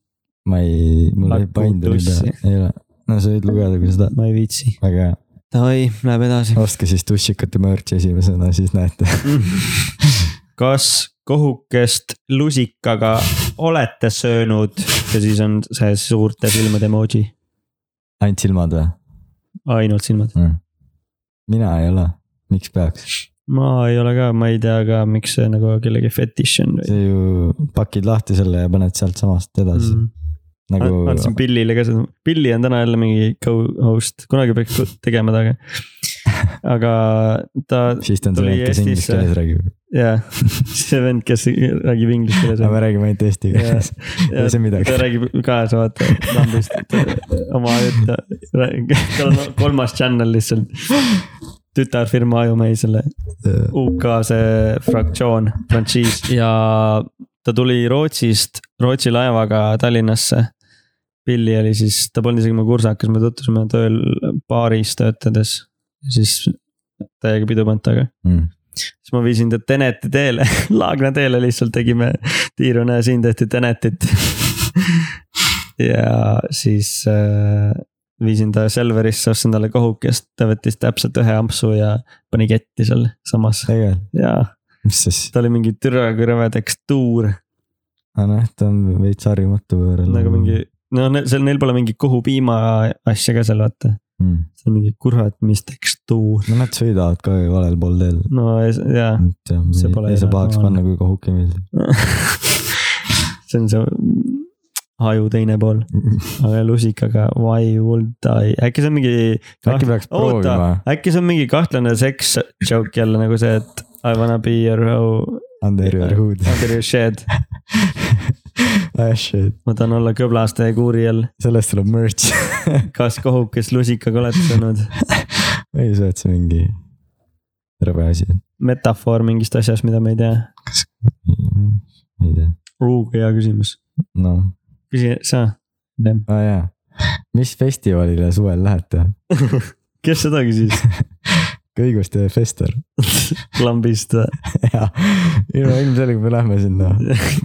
[SPEAKER 1] ma ei , mul ei
[SPEAKER 2] Lakku
[SPEAKER 1] paindu nii
[SPEAKER 2] tussi.
[SPEAKER 1] peale , ei ole . no sa võid lugeda , kui sa tahad ,
[SPEAKER 2] ma ei viitsi .
[SPEAKER 1] väga hea .
[SPEAKER 2] Davai , läheb edasi .
[SPEAKER 1] ostke siis tussikate merch esimesena , siis näete .
[SPEAKER 2] kas kohukest lusikaga olete söönud ja siis on see suurte silmade emoji ,
[SPEAKER 1] ainult silmad või
[SPEAKER 2] ainult silmad .
[SPEAKER 1] mm. ? mina ei ole , miks peaks ?
[SPEAKER 2] ma ei ole ka , ma ei tea ka , miks see nagu kellegi fetiš on või .
[SPEAKER 1] sa ju pakid lahti selle ja paned sealtsamast edasi mm. nagu .
[SPEAKER 2] andsin Pillile ka seda , Pilli on täna jälle mingi co-host , kunagi peaks ko- tegema temaga . aga ta
[SPEAKER 1] siis ta on see
[SPEAKER 2] tuli
[SPEAKER 1] vend , kes inglise
[SPEAKER 2] Eestisse.
[SPEAKER 1] keeles räägib .
[SPEAKER 2] jah , see vend , kes räägib inglise keeles .
[SPEAKER 1] aga me räägime ainult eesti
[SPEAKER 2] Jah.
[SPEAKER 1] keeles , ei saa midagi
[SPEAKER 2] ta . räägib kaasvaataja lambist äh, oma juttu , tal on kolmas channel lihtsalt . tütarfirma Ajumäisele , UK see fraktsioon , frantsiis ja ta tuli Rootsist , Rootsi laevaga Tallinnasse . Pilli oli siis , ta polnud isegi mu kursakas , me tutvusime tööl baaris töötades , siis täiega pidu pannud taga
[SPEAKER 1] Mm.
[SPEAKER 2] siis ma viisin ta Teneti teele , Laagna teele lihtsalt tegime tiiru , näe siin tehti Tenetit . ja siis äh, viisin ta Selverisse , ostsin talle kohukest , ta võttis täpselt ühe ampsu ja pani ketti seal samas
[SPEAKER 1] tegelikult ,
[SPEAKER 2] ja
[SPEAKER 1] mis siis ,
[SPEAKER 2] ta oli mingi türa kui rõve tekstuur
[SPEAKER 1] aga noh , ta on veits harjumatu võõral .
[SPEAKER 2] nagu mingi , no ne- seal neil pole mingi kohupiima asja ka seal vaata ,
[SPEAKER 1] mm. .
[SPEAKER 2] see on mingi kurat , mis tekstuur ,
[SPEAKER 1] no nad sõidavad ka ju valel pool teel .
[SPEAKER 2] no ja s- jaa See
[SPEAKER 1] see
[SPEAKER 2] pole
[SPEAKER 1] pole . ei saa
[SPEAKER 2] enam
[SPEAKER 1] pahaks
[SPEAKER 2] normaalne.
[SPEAKER 1] panna , kui kohuke meeldib .
[SPEAKER 2] see on see aju teine pool , aga lusikaga why would I , äkki see on mingi .
[SPEAKER 1] äkki
[SPEAKER 2] Ah,
[SPEAKER 1] peaks proovima ?
[SPEAKER 2] äkki see on mingi kahtlane seks joke jälle nagu see , et I wanna be your hoe
[SPEAKER 1] Under your hood .
[SPEAKER 2] under your shed ,
[SPEAKER 1] Ah shit ,
[SPEAKER 2] ma tahan olla kõblaste kuuri all .
[SPEAKER 1] sellest tuleb merch .
[SPEAKER 2] kas kohukes lusikaga oled saanud
[SPEAKER 1] ei , see oled see mingi rõve asi .
[SPEAKER 2] metafoor mingist asjast , mida ma ei tea ?
[SPEAKER 1] ei tea ,
[SPEAKER 2] Ruuga hea küsimus ,
[SPEAKER 1] noh ,
[SPEAKER 2] küsi sa .
[SPEAKER 1] aa Ah, jaa . mis festivalile suvel lähete ?
[SPEAKER 2] kes seda küsis ?
[SPEAKER 1] kõiguste fester .
[SPEAKER 2] lambist või ?
[SPEAKER 1] jaa , ilmselgelt me lähme sinna .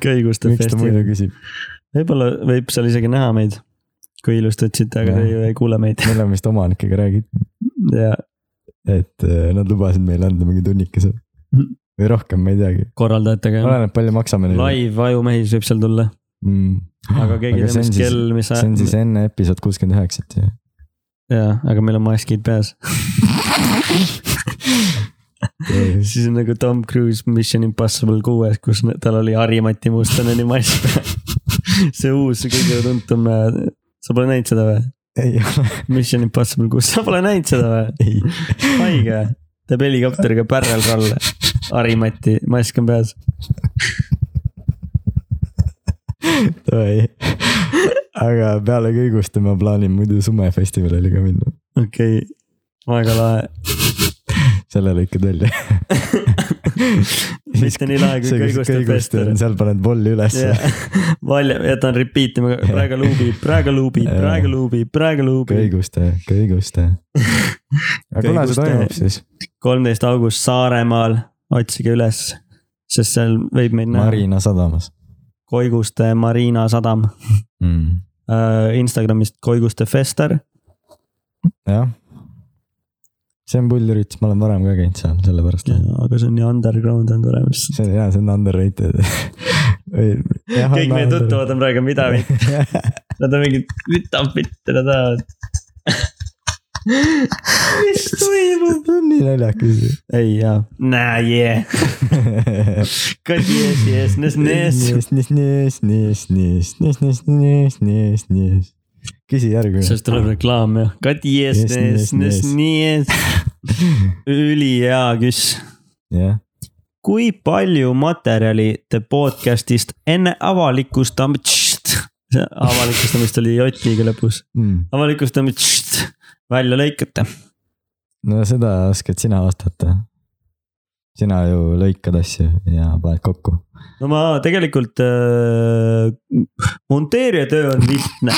[SPEAKER 2] kõiguste
[SPEAKER 1] miks ta muidu
[SPEAKER 2] festival .
[SPEAKER 1] küsib ,
[SPEAKER 2] võib-olla võib seal isegi näha meid , kui ilusti otsite , aga te ju ei kuule meid
[SPEAKER 1] me oleme vist omanikega räägitud ,
[SPEAKER 2] ja
[SPEAKER 1] et eh, nad lubasid meile anda mingi tunnikese või rohkem , ma ei teagi .
[SPEAKER 2] korraldajatega .
[SPEAKER 1] oleneb , palju maksame neile .
[SPEAKER 2] live ajumehis võib seal tulla , Ah, aga keegi ei tea , mis kell , mis
[SPEAKER 1] see on siis
[SPEAKER 2] ajal .
[SPEAKER 1] enne episood kuuskümmend üheksat ju .
[SPEAKER 2] jaa , aga meil on maskid peas . siis on nagu Tom Cruise Mission Impossible kuues , kus ne- tal oli Harimati mustaneni mask peal . see uus , kõige tuntum , sa pole näinud seda või ?
[SPEAKER 1] ei ole ,
[SPEAKER 2] Mission Impossible kuus , sa pole näinud seda või ?
[SPEAKER 1] ei .
[SPEAKER 2] haige , teeb helikopteriga barrel roll'e , Harimati , mask on peas .
[SPEAKER 1] davai , aga peale kõiguste ma plaanin muidu sumefestivalile ka minna ,
[SPEAKER 2] okei okay. , väga lahe .
[SPEAKER 1] selle lõikad välja .
[SPEAKER 2] mitte nii lahe kui kõiguste fester .
[SPEAKER 1] seal paned volli ülesse yeah. ,
[SPEAKER 2] valja , jätan repeat ima , praegu luubi , praegu luubi ,
[SPEAKER 1] Jaa.
[SPEAKER 2] praegu luubi , praegu luubi .
[SPEAKER 1] kõiguste , kõiguste . aga kuna see
[SPEAKER 2] Kõiguste-
[SPEAKER 1] toimub siis ?
[SPEAKER 2] kolmteist august Saaremaal , otsige üles , sest seal võib meid näha .
[SPEAKER 1] Marina sadamas
[SPEAKER 2] Koiguste Marina sadam ,
[SPEAKER 1] mm. .
[SPEAKER 2] Instagramist Koiguste Fester ,
[SPEAKER 1] jah . see on pull üritus , ma olen varem ka käinud seal , sellepärast .
[SPEAKER 2] aga see on nii underground on tore vist .
[SPEAKER 1] see on hea , see on underrated .
[SPEAKER 2] kõik meie . tuttavad on praegu mida , nad on mingid , mida pitta nad ajavad . mis toimub ?
[SPEAKER 1] see on nii naljakas .
[SPEAKER 2] ei jaa , näe jee , kas jees , jees , nes , nes .
[SPEAKER 1] Niis , niis , niis , niis , niis , niis , niis , niis , niis , niis . küsi järgmine .
[SPEAKER 2] sellest tuleb reklaam jah , Kadi ees ,
[SPEAKER 1] Yes,
[SPEAKER 2] ees
[SPEAKER 1] yes, ,
[SPEAKER 2] ees
[SPEAKER 1] yes. ,
[SPEAKER 2] nii ees . ülihea küs .
[SPEAKER 1] jah ,
[SPEAKER 2] kui palju materjali te podcast'ist enne avalikustamist , avalikustamist oli J-ga lõpus ,
[SPEAKER 1] Mm.
[SPEAKER 2] avalikustamist välja lõikate ?
[SPEAKER 1] no seda oskad sina vastata . sina ju lõikad asju ja paned kokku .
[SPEAKER 2] no ma tegelikult äh, , monteerija töö on lihtne ,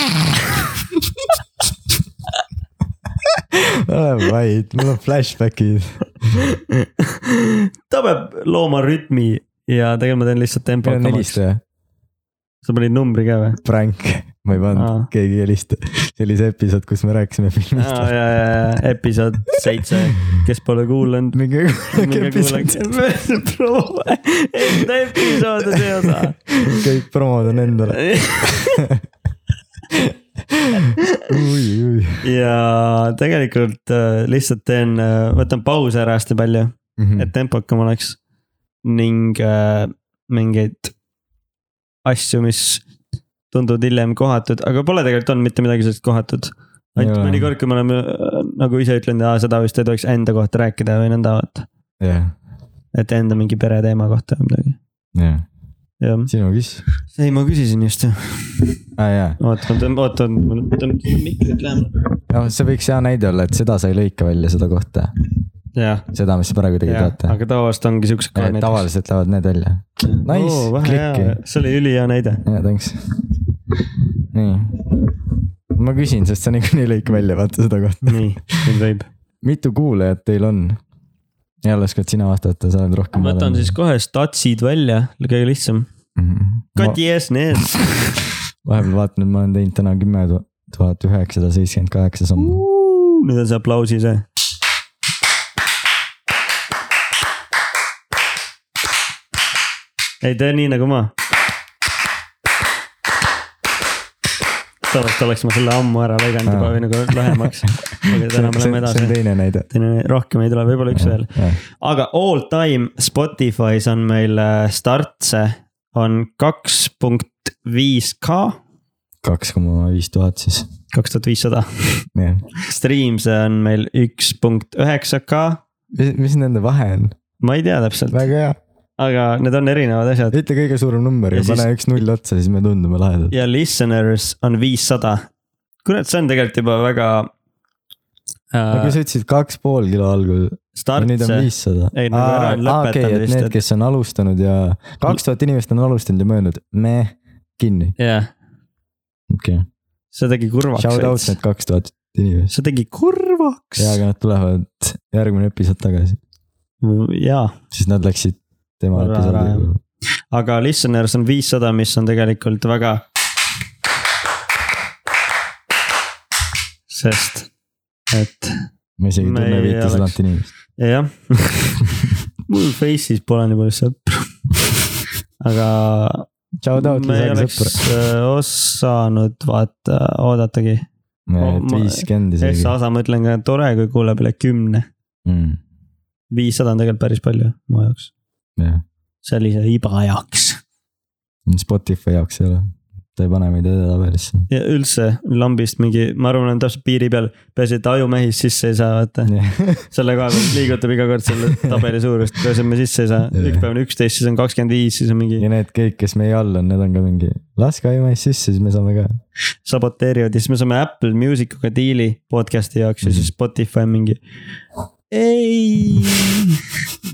[SPEAKER 1] ole vait , mul on flashbackid .
[SPEAKER 2] ta peab looma rütmi ja tegelikult ma teen lihtsalt tempo
[SPEAKER 1] meil on
[SPEAKER 2] hakkama .
[SPEAKER 1] helistaja ,
[SPEAKER 2] sa panid numbri ka või ?
[SPEAKER 1] prank , ma ei
[SPEAKER 2] Aa.
[SPEAKER 1] pannud , keegi ei helista . see oli see episood , kus me rääkisime filmist .
[SPEAKER 2] ja , ja , ja episood seitse , kes pole kuulanud .
[SPEAKER 1] mingi episood ,
[SPEAKER 2] enda episoodi see osa .
[SPEAKER 1] kõik promod on endale . oi ,
[SPEAKER 2] ja tegelikult äh, lihtsalt teen , võtan pause ära hästi palju ,
[SPEAKER 1] oi
[SPEAKER 2] et . tempokam oleks . ning äh, mingeid asju , mis tunduvad hiljem kohatud , aga pole tegelikult olnud mitte midagi sellist kohatud .
[SPEAKER 1] Ei
[SPEAKER 2] ainult
[SPEAKER 1] ole.
[SPEAKER 2] mõnikord , kui me oleme äh, nagu ise ütlenud , seda vist ei tohiks enda kohta rääkida või nõnda , et
[SPEAKER 1] jah ,
[SPEAKER 2] et enda mingi pereteema kohta või midagi ,
[SPEAKER 1] jah ,
[SPEAKER 2] jah .
[SPEAKER 1] sinu kiss .
[SPEAKER 2] ei , ma küsisin just jah .
[SPEAKER 1] aa jaa ,
[SPEAKER 2] oota , ma tõmban , oota , ma tõmban mikrit lähemale .
[SPEAKER 1] noh , see võiks hea näide olla , et seda sa ei lõika välja , seda kohta ,
[SPEAKER 2] jah ,
[SPEAKER 1] seda , mis sa praegu tegid ,
[SPEAKER 2] jah ,
[SPEAKER 1] vaata .
[SPEAKER 2] aga tavaliselt ongi siuksed ka näiteks .
[SPEAKER 1] tavaliselt lähevad need välja . Nice , klikki .
[SPEAKER 2] see oli ülihea näide .
[SPEAKER 1] jaa , thanks . nii . ma küsin , sest sa niikuinii lõik välja , vaata seda kohta .
[SPEAKER 2] nii , nüüd võib .
[SPEAKER 1] mitu kuulajat teil on ? jälle oskad sina vastata , sa oled rohkem .
[SPEAKER 2] võtan siis kohe statsid välja , kõige lihtsam .
[SPEAKER 1] Kadi .
[SPEAKER 2] Kati ees , nees .
[SPEAKER 1] Mhm. vahepeal vaatan , et ma olen teinud täna kümme tuhat üheksasada seitsekümmend kaheksa sammu .
[SPEAKER 2] nüüd on see aplausi see . ei tee nii nagu ma . tavaliselt oleks ma selle ammu ära lõiganud juba või nagu lühemaks . aga täna me läheme
[SPEAKER 1] see on
[SPEAKER 2] edasi .
[SPEAKER 1] teine näide .
[SPEAKER 2] teine , rohkem ei tule , võib-olla üks veel . aga all time Spotify's on meil äh, startse on kaks punkt viis K ,
[SPEAKER 1] kaks koma viis tuhat siis ,
[SPEAKER 2] kaks tuhat viissada .
[SPEAKER 1] jah .
[SPEAKER 2] Streams'e on meil üks punkt üheksa K ,
[SPEAKER 1] mis , mis nende vahe on ?
[SPEAKER 2] ma ei tea täpselt ,
[SPEAKER 1] väga hea ,
[SPEAKER 2] aga need on erinevad asjad
[SPEAKER 1] ütle kõige suurem number ja
[SPEAKER 2] Ja siis-
[SPEAKER 1] pane üks null otsa , siis me tundume lahedad .
[SPEAKER 2] ja listeners on viissada . kurat , see on tegelikult juba väga
[SPEAKER 1] aga
[SPEAKER 2] äh, .
[SPEAKER 1] sa ütlesid kaks pool kilo algul Ja nüüd on
[SPEAKER 2] Startse ,
[SPEAKER 1] viissada .
[SPEAKER 2] Ei, nad ei ole lõpetanud
[SPEAKER 1] et
[SPEAKER 2] vist,
[SPEAKER 1] need
[SPEAKER 2] et- ,
[SPEAKER 1] kes on alustanud ja kaks tuhat inimest on alustanud ja mõelnud , me kinni ,
[SPEAKER 2] jah ,
[SPEAKER 1] okei okay. .
[SPEAKER 2] see tegi
[SPEAKER 1] Shout out
[SPEAKER 2] kurvaks .
[SPEAKER 1] need kaks tuhat inimest .
[SPEAKER 2] see tegi kurvaks
[SPEAKER 1] ja , aga nad tulevad järgmine episood tagasi ,
[SPEAKER 2] jaa
[SPEAKER 1] siis nad läksid tema
[SPEAKER 2] Ära, ära, jah.
[SPEAKER 1] episoodi .
[SPEAKER 2] aga listeners on viissada , mis on tegelikult väga . sest , et
[SPEAKER 1] ma isegi ei
[SPEAKER 2] Me
[SPEAKER 1] tunne
[SPEAKER 2] ei
[SPEAKER 1] viite
[SPEAKER 2] oleks-
[SPEAKER 1] sadat inimest .
[SPEAKER 2] jah , mul Face'is pole nii palju sõpru . aga
[SPEAKER 1] Shout out
[SPEAKER 2] me ei
[SPEAKER 1] lisage
[SPEAKER 2] oleks
[SPEAKER 1] sõpra .
[SPEAKER 2] äh, osanud vaata , oodatagi . no Oh, ma-
[SPEAKER 1] viiskümmend isegi Mm,
[SPEAKER 2] S-a . osa ma ütlen ka tore , kui kuuleb üle kümne , viissada on tegelikult päris palju mu jaoks ,
[SPEAKER 1] jah ,
[SPEAKER 2] sellise iba jaoks
[SPEAKER 1] Spotify jaoks ei ole , ta ei pane meid edetabelisse .
[SPEAKER 2] ja üldse lambist mingi , ma arvan , on täpselt piiri peal , peaasi , et ajumehis sisse ei saa , vaata . selle koha pealt liigutab iga kord selle tabeli suurust , peaasi , et me sisse ei saa , üks päev on üksteist , siis on kakskümmend viis , siis on mingi
[SPEAKER 1] ja need kõik , kes meie all on , need on ka mingi , laske IMS sisse , siis me saame ka .
[SPEAKER 2] saboteerivad ja siis me saame Apple Music uga diili podcast'i jaoks ja
[SPEAKER 1] Mhm.
[SPEAKER 2] siis Spotify mingi . ei ,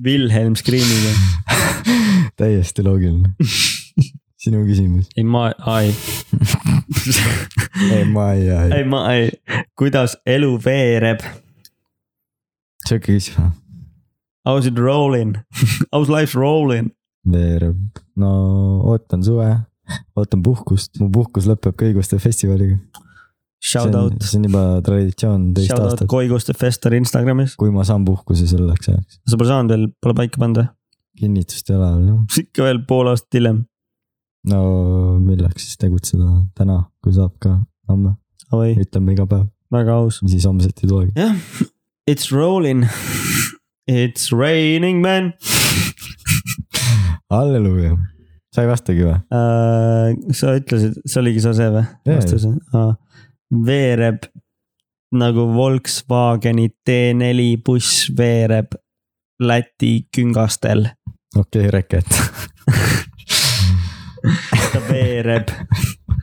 [SPEAKER 2] Wilhelm Scream'iga ,
[SPEAKER 1] täiesti loogiline . sinu küsimus .
[SPEAKER 2] ei ma , ei ,
[SPEAKER 1] ei , ma ei , ei ,
[SPEAKER 2] ei ma , ei , kuidas elu veereb .
[SPEAKER 1] sihuke küsimus .
[SPEAKER 2] How's it rolling , how's life rolling ,
[SPEAKER 1] veereb , no ootan suve , ootan puhkust , mu puhkus lõpeb Kõiguste festivaliga .
[SPEAKER 2] shout out ,
[SPEAKER 1] see on juba traditsioon teist
[SPEAKER 2] shout out
[SPEAKER 1] aastat ,
[SPEAKER 2] Koiguste Fester Instagramis ,
[SPEAKER 1] kui ma saan puhkuse selleks ajaks .
[SPEAKER 2] sa pole saanud veel , pole paika pannud või ?
[SPEAKER 1] kinnitust ei ole veel jah .
[SPEAKER 2] ikka veel pool aastat hiljem ,
[SPEAKER 1] no milleks siis tegutseda täna , kui saab ka homme ,
[SPEAKER 2] oi ,
[SPEAKER 1] ütleme iga päev ,
[SPEAKER 2] väga aus .
[SPEAKER 1] siis homset ei tulegi .
[SPEAKER 2] jah , it's rolling , it's raining man
[SPEAKER 1] halleluuja , sa ei vastagi või ?
[SPEAKER 2] uh, . sa ütlesid , see oligi sa see või
[SPEAKER 1] Jaa,
[SPEAKER 2] vastus uh, ? veereb nagu Volkswageni T4 buss veereb Läti küngastel ,
[SPEAKER 1] okei okay, , reket .
[SPEAKER 2] ta veereb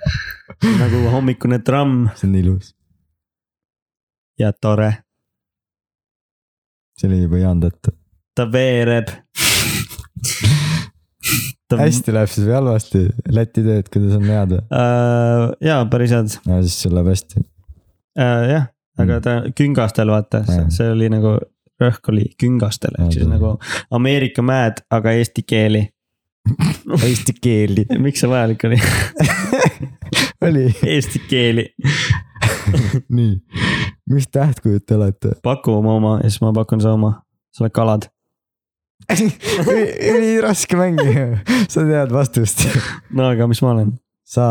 [SPEAKER 2] nagu hommikune tramm
[SPEAKER 1] see on ilus ,
[SPEAKER 2] ja tore ,
[SPEAKER 1] see oli juba Jaan Tätt .
[SPEAKER 2] ta veereb . Ehm,
[SPEAKER 1] hästi läheb siis või halvasti , Läti teed , kuidas on head või ?
[SPEAKER 2] Uh, jaa , päris head
[SPEAKER 1] no siis sul läheb hästi .
[SPEAKER 2] äh, . jah , aga ta küngastel vaata , see,
[SPEAKER 1] Jaa.
[SPEAKER 2] see oli nagu rõhk oli küngastel ehk siis
[SPEAKER 1] Jaa.
[SPEAKER 2] nagu Ameerika mäed , aga eesti keeli .
[SPEAKER 1] Eesti keeli .
[SPEAKER 2] miks see vajalik oli ?
[SPEAKER 1] oli ,
[SPEAKER 2] Eesti keeli ,
[SPEAKER 1] nii , mis tähtkujud te olete ?
[SPEAKER 2] paku oma oma ja siis ma pakun su oma , sa oled kalad .
[SPEAKER 1] üli raske mängida , sa tead vastust .
[SPEAKER 2] no aga mis ma olen ?
[SPEAKER 1] sa ,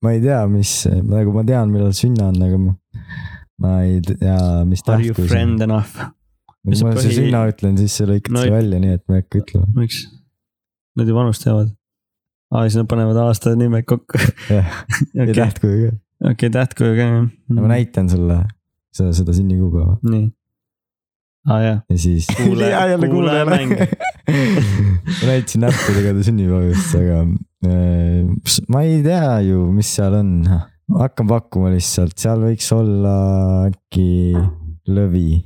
[SPEAKER 1] ma ei tea , mis , nagu ma tean , millal sünna on , aga ma , ma ei tea , mis
[SPEAKER 2] Are you
[SPEAKER 1] tähtkuju see on .
[SPEAKER 2] friend enough ?
[SPEAKER 1] kui
[SPEAKER 2] mis
[SPEAKER 1] ma
[SPEAKER 2] see
[SPEAKER 1] see
[SPEAKER 2] põhi-
[SPEAKER 1] sünna ütlen , siis sa lõikad
[SPEAKER 2] No
[SPEAKER 1] no,
[SPEAKER 2] ei-
[SPEAKER 1] selle välja , nii et ma ei hakka ütlema .
[SPEAKER 2] miks ? Nad ju vanust teavad . aa , siis nad panevad aasta nimed kokku .
[SPEAKER 1] jah , ja
[SPEAKER 2] okei , Mm.
[SPEAKER 1] tähtkuju ka .
[SPEAKER 2] okei , tähtkuju ka jah Mhm.
[SPEAKER 1] ma . näitan sulle seda , seda sünnikuupäeva .
[SPEAKER 2] nii , aa jah .
[SPEAKER 1] ja siis .
[SPEAKER 2] Kuule- kuulaja mäng.
[SPEAKER 1] ma näitasin näppudega ta sünnipäevast , aga äh, ps- ma ei tea ju , mis seal on . hakkan pakkuma lihtsalt , seal võiks olla äkki lõvi .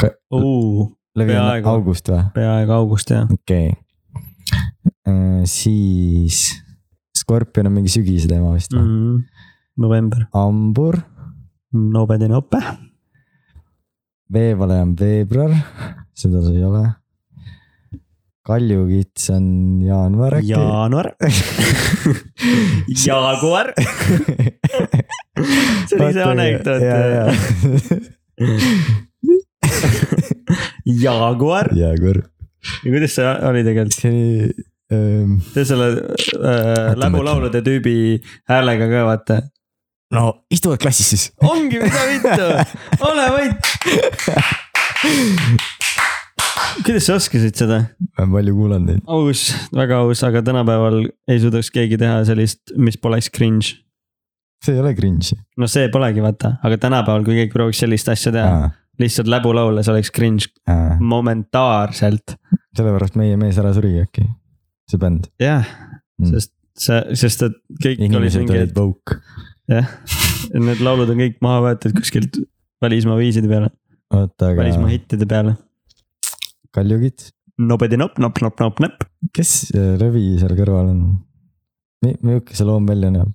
[SPEAKER 1] lõvi on
[SPEAKER 2] Peaaegu.
[SPEAKER 1] august või ?
[SPEAKER 2] peaaegu august jah .
[SPEAKER 1] okei okay. . siis skorpion on mingi sügise teema vist
[SPEAKER 2] Mhm.
[SPEAKER 1] või ?
[SPEAKER 2] november ,
[SPEAKER 1] hambur ,
[SPEAKER 2] noobedine õpe .
[SPEAKER 1] veevale on veebruar , seda see ei ole . kaljukits on jaanuar äkki .
[SPEAKER 2] jaanuar , jaaguar , see oli see anekdoot . jaaguar
[SPEAKER 1] jaaguar ,
[SPEAKER 2] ja kuidas see oli tegelikult ,
[SPEAKER 1] see oli ähm, .
[SPEAKER 2] tee selle äh,
[SPEAKER 1] mõtlen.
[SPEAKER 2] läbulaulude tüübi häälega ka vaata .
[SPEAKER 1] no istuvad klassis siis .
[SPEAKER 2] ongi mida vittu , ole vait . kuidas sa oskasid seda ?
[SPEAKER 1] ma olen palju kuulanud neid .
[SPEAKER 2] aus , väga aus , aga tänapäeval ei suudaks keegi teha sellist , mis poleks cringe .
[SPEAKER 1] see ei ole cringe .
[SPEAKER 2] no see polegi vaata , aga tänapäeval , kui keegi prooviks sellist asja teha , lihtsalt läbulaules oleks cringe momentaarselt .
[SPEAKER 1] sellepärast meie mees ära surigi äkki , see bänd .
[SPEAKER 2] jah
[SPEAKER 1] Mm.
[SPEAKER 2] mm. , sest see , sest et kõik olid
[SPEAKER 1] inimesed
[SPEAKER 2] mingid
[SPEAKER 1] olid , woke .
[SPEAKER 2] jah , need laulud on kõik maha võetud kuskilt välismaa viiside peale ,
[SPEAKER 1] oota ,
[SPEAKER 2] välismaa
[SPEAKER 1] aga
[SPEAKER 2] hittide peale .
[SPEAKER 1] Kaljukits ,
[SPEAKER 2] nobedi nop , nop , nop , nop , nop ,
[SPEAKER 1] kes see Rõvi seal kõrval on ? milline see loom välja näeb ?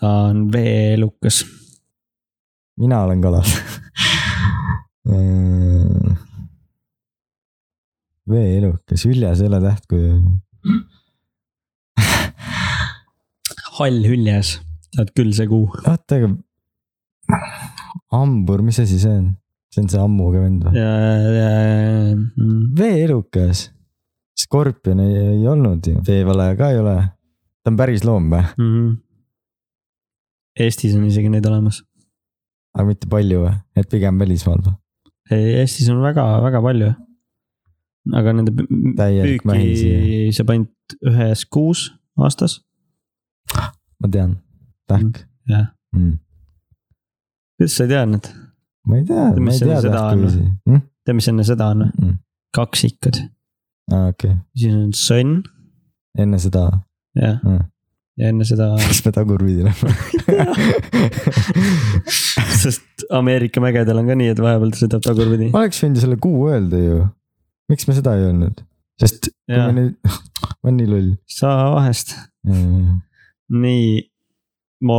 [SPEAKER 2] ta on veelukas .
[SPEAKER 1] mina olen kalal Mm. veeelukas , hüljes ei ole tähtkuju .
[SPEAKER 2] hall hüljes , tead küll see kuu .
[SPEAKER 1] oota , aga hambur , mis asi see on ? see on see ammuga vend või ?
[SPEAKER 2] ja , ja , ja ,
[SPEAKER 1] veeelukas , skorpion ei, ei olnud ju , veevalaja ka ei ole . ta on päris loom või ,
[SPEAKER 2] ja . mm. Eestis on isegi neid olemas .
[SPEAKER 1] aga mitte palju või , et pigem välismaal või ?
[SPEAKER 2] ei , E, Eestis on väga-väga palju . aga nende pü-
[SPEAKER 1] Täielik mähi
[SPEAKER 2] püüki
[SPEAKER 1] siia.
[SPEAKER 2] saab ainult ühes kuus aastas .
[SPEAKER 1] ma tean , tähk
[SPEAKER 2] jah.
[SPEAKER 1] mm. .
[SPEAKER 2] kuidas sa ei teadnud ?
[SPEAKER 1] ma ei tea ,
[SPEAKER 2] Mis
[SPEAKER 1] ma ei
[SPEAKER 2] enne
[SPEAKER 1] tea
[SPEAKER 2] seda on
[SPEAKER 1] tähtkujusi mm? .
[SPEAKER 2] tead , mis enne seda on või ?
[SPEAKER 1] Mm.
[SPEAKER 2] kaksikad ,
[SPEAKER 1] aa , Ah, okei okay. ,
[SPEAKER 2] siis on sõnn ,
[SPEAKER 1] enne seda
[SPEAKER 2] jah ,
[SPEAKER 1] mm. .
[SPEAKER 2] ja enne seda ,
[SPEAKER 1] kas me tagurpidi lähme ?
[SPEAKER 2] sest Ameerika mägedel on ka nii , et vahepeal ta sõidab tagurpidi .
[SPEAKER 1] ma oleks võinud ju selle kuu öelda ju . miks me seda ei öelnud ? sest kui
[SPEAKER 2] jaa
[SPEAKER 1] me , nüüd , ma olen nii loll .
[SPEAKER 2] sa vahest . nii , mu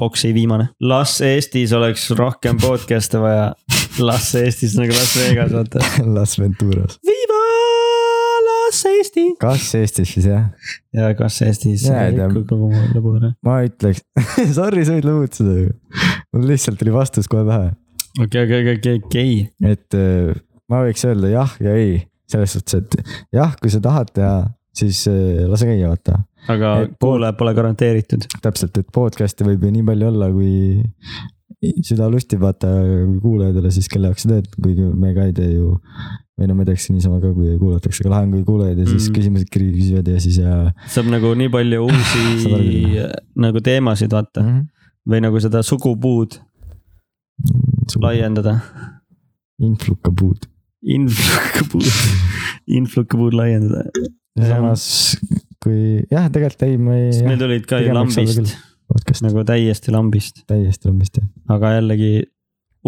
[SPEAKER 2] boksi viimane . las Eestis oleks rohkem podcast'e vaja . las Eestis nagu Las Vegas , vaata .
[SPEAKER 1] Las Venturas .
[SPEAKER 2] Viva Las Eesti .
[SPEAKER 1] kas Eestis siis jah ?
[SPEAKER 2] ja kas Eestis
[SPEAKER 1] Jaa, ei tea.
[SPEAKER 2] rikub kogu mu lõbu ära .
[SPEAKER 1] ma ütleks , sorry , sa võid lõbutseda ju . mul lihtsalt tuli vastus kohe pähe ,
[SPEAKER 2] okei , okei , okei , okei .
[SPEAKER 1] et äh, ma võiks öelda jah ja ei , selles suhtes , et jah , kui sa tahad teha , siis äh, lase käia , vaata .
[SPEAKER 2] aga
[SPEAKER 1] Et pool-
[SPEAKER 2] kuulaja pole garanteeritud .
[SPEAKER 1] täpselt , et podcast'e võib ju nii palju olla , kui süda lustib , vaata , kui kuulajatele , siis kelle jaoks sa teed , kuigi me ka ei tee ju . või no me teeks niisama ka , kui kuulatakse , aga lahe on , kui kuulajad ja siis
[SPEAKER 2] Mhm.
[SPEAKER 1] mm. küsimused kirja küsivad ja siis ja
[SPEAKER 2] saab nagu nii palju
[SPEAKER 1] Saab aru
[SPEAKER 2] uusi
[SPEAKER 1] küll.
[SPEAKER 2] nagu teemasid vaata
[SPEAKER 1] mm. .
[SPEAKER 2] või nagu seda sugupuud laiendada .
[SPEAKER 1] influkapuud .
[SPEAKER 2] Influkapuud , influkapuud laiendada .
[SPEAKER 1] samas kui jah , tegelikult ei , ma
[SPEAKER 2] sest
[SPEAKER 1] ei
[SPEAKER 2] meil . tulid ka ju
[SPEAKER 1] pigem võiks olla
[SPEAKER 2] lambist
[SPEAKER 1] küll. podcast
[SPEAKER 2] nagu täiesti lambist ,
[SPEAKER 1] täiesti lambist jah .
[SPEAKER 2] aga jällegi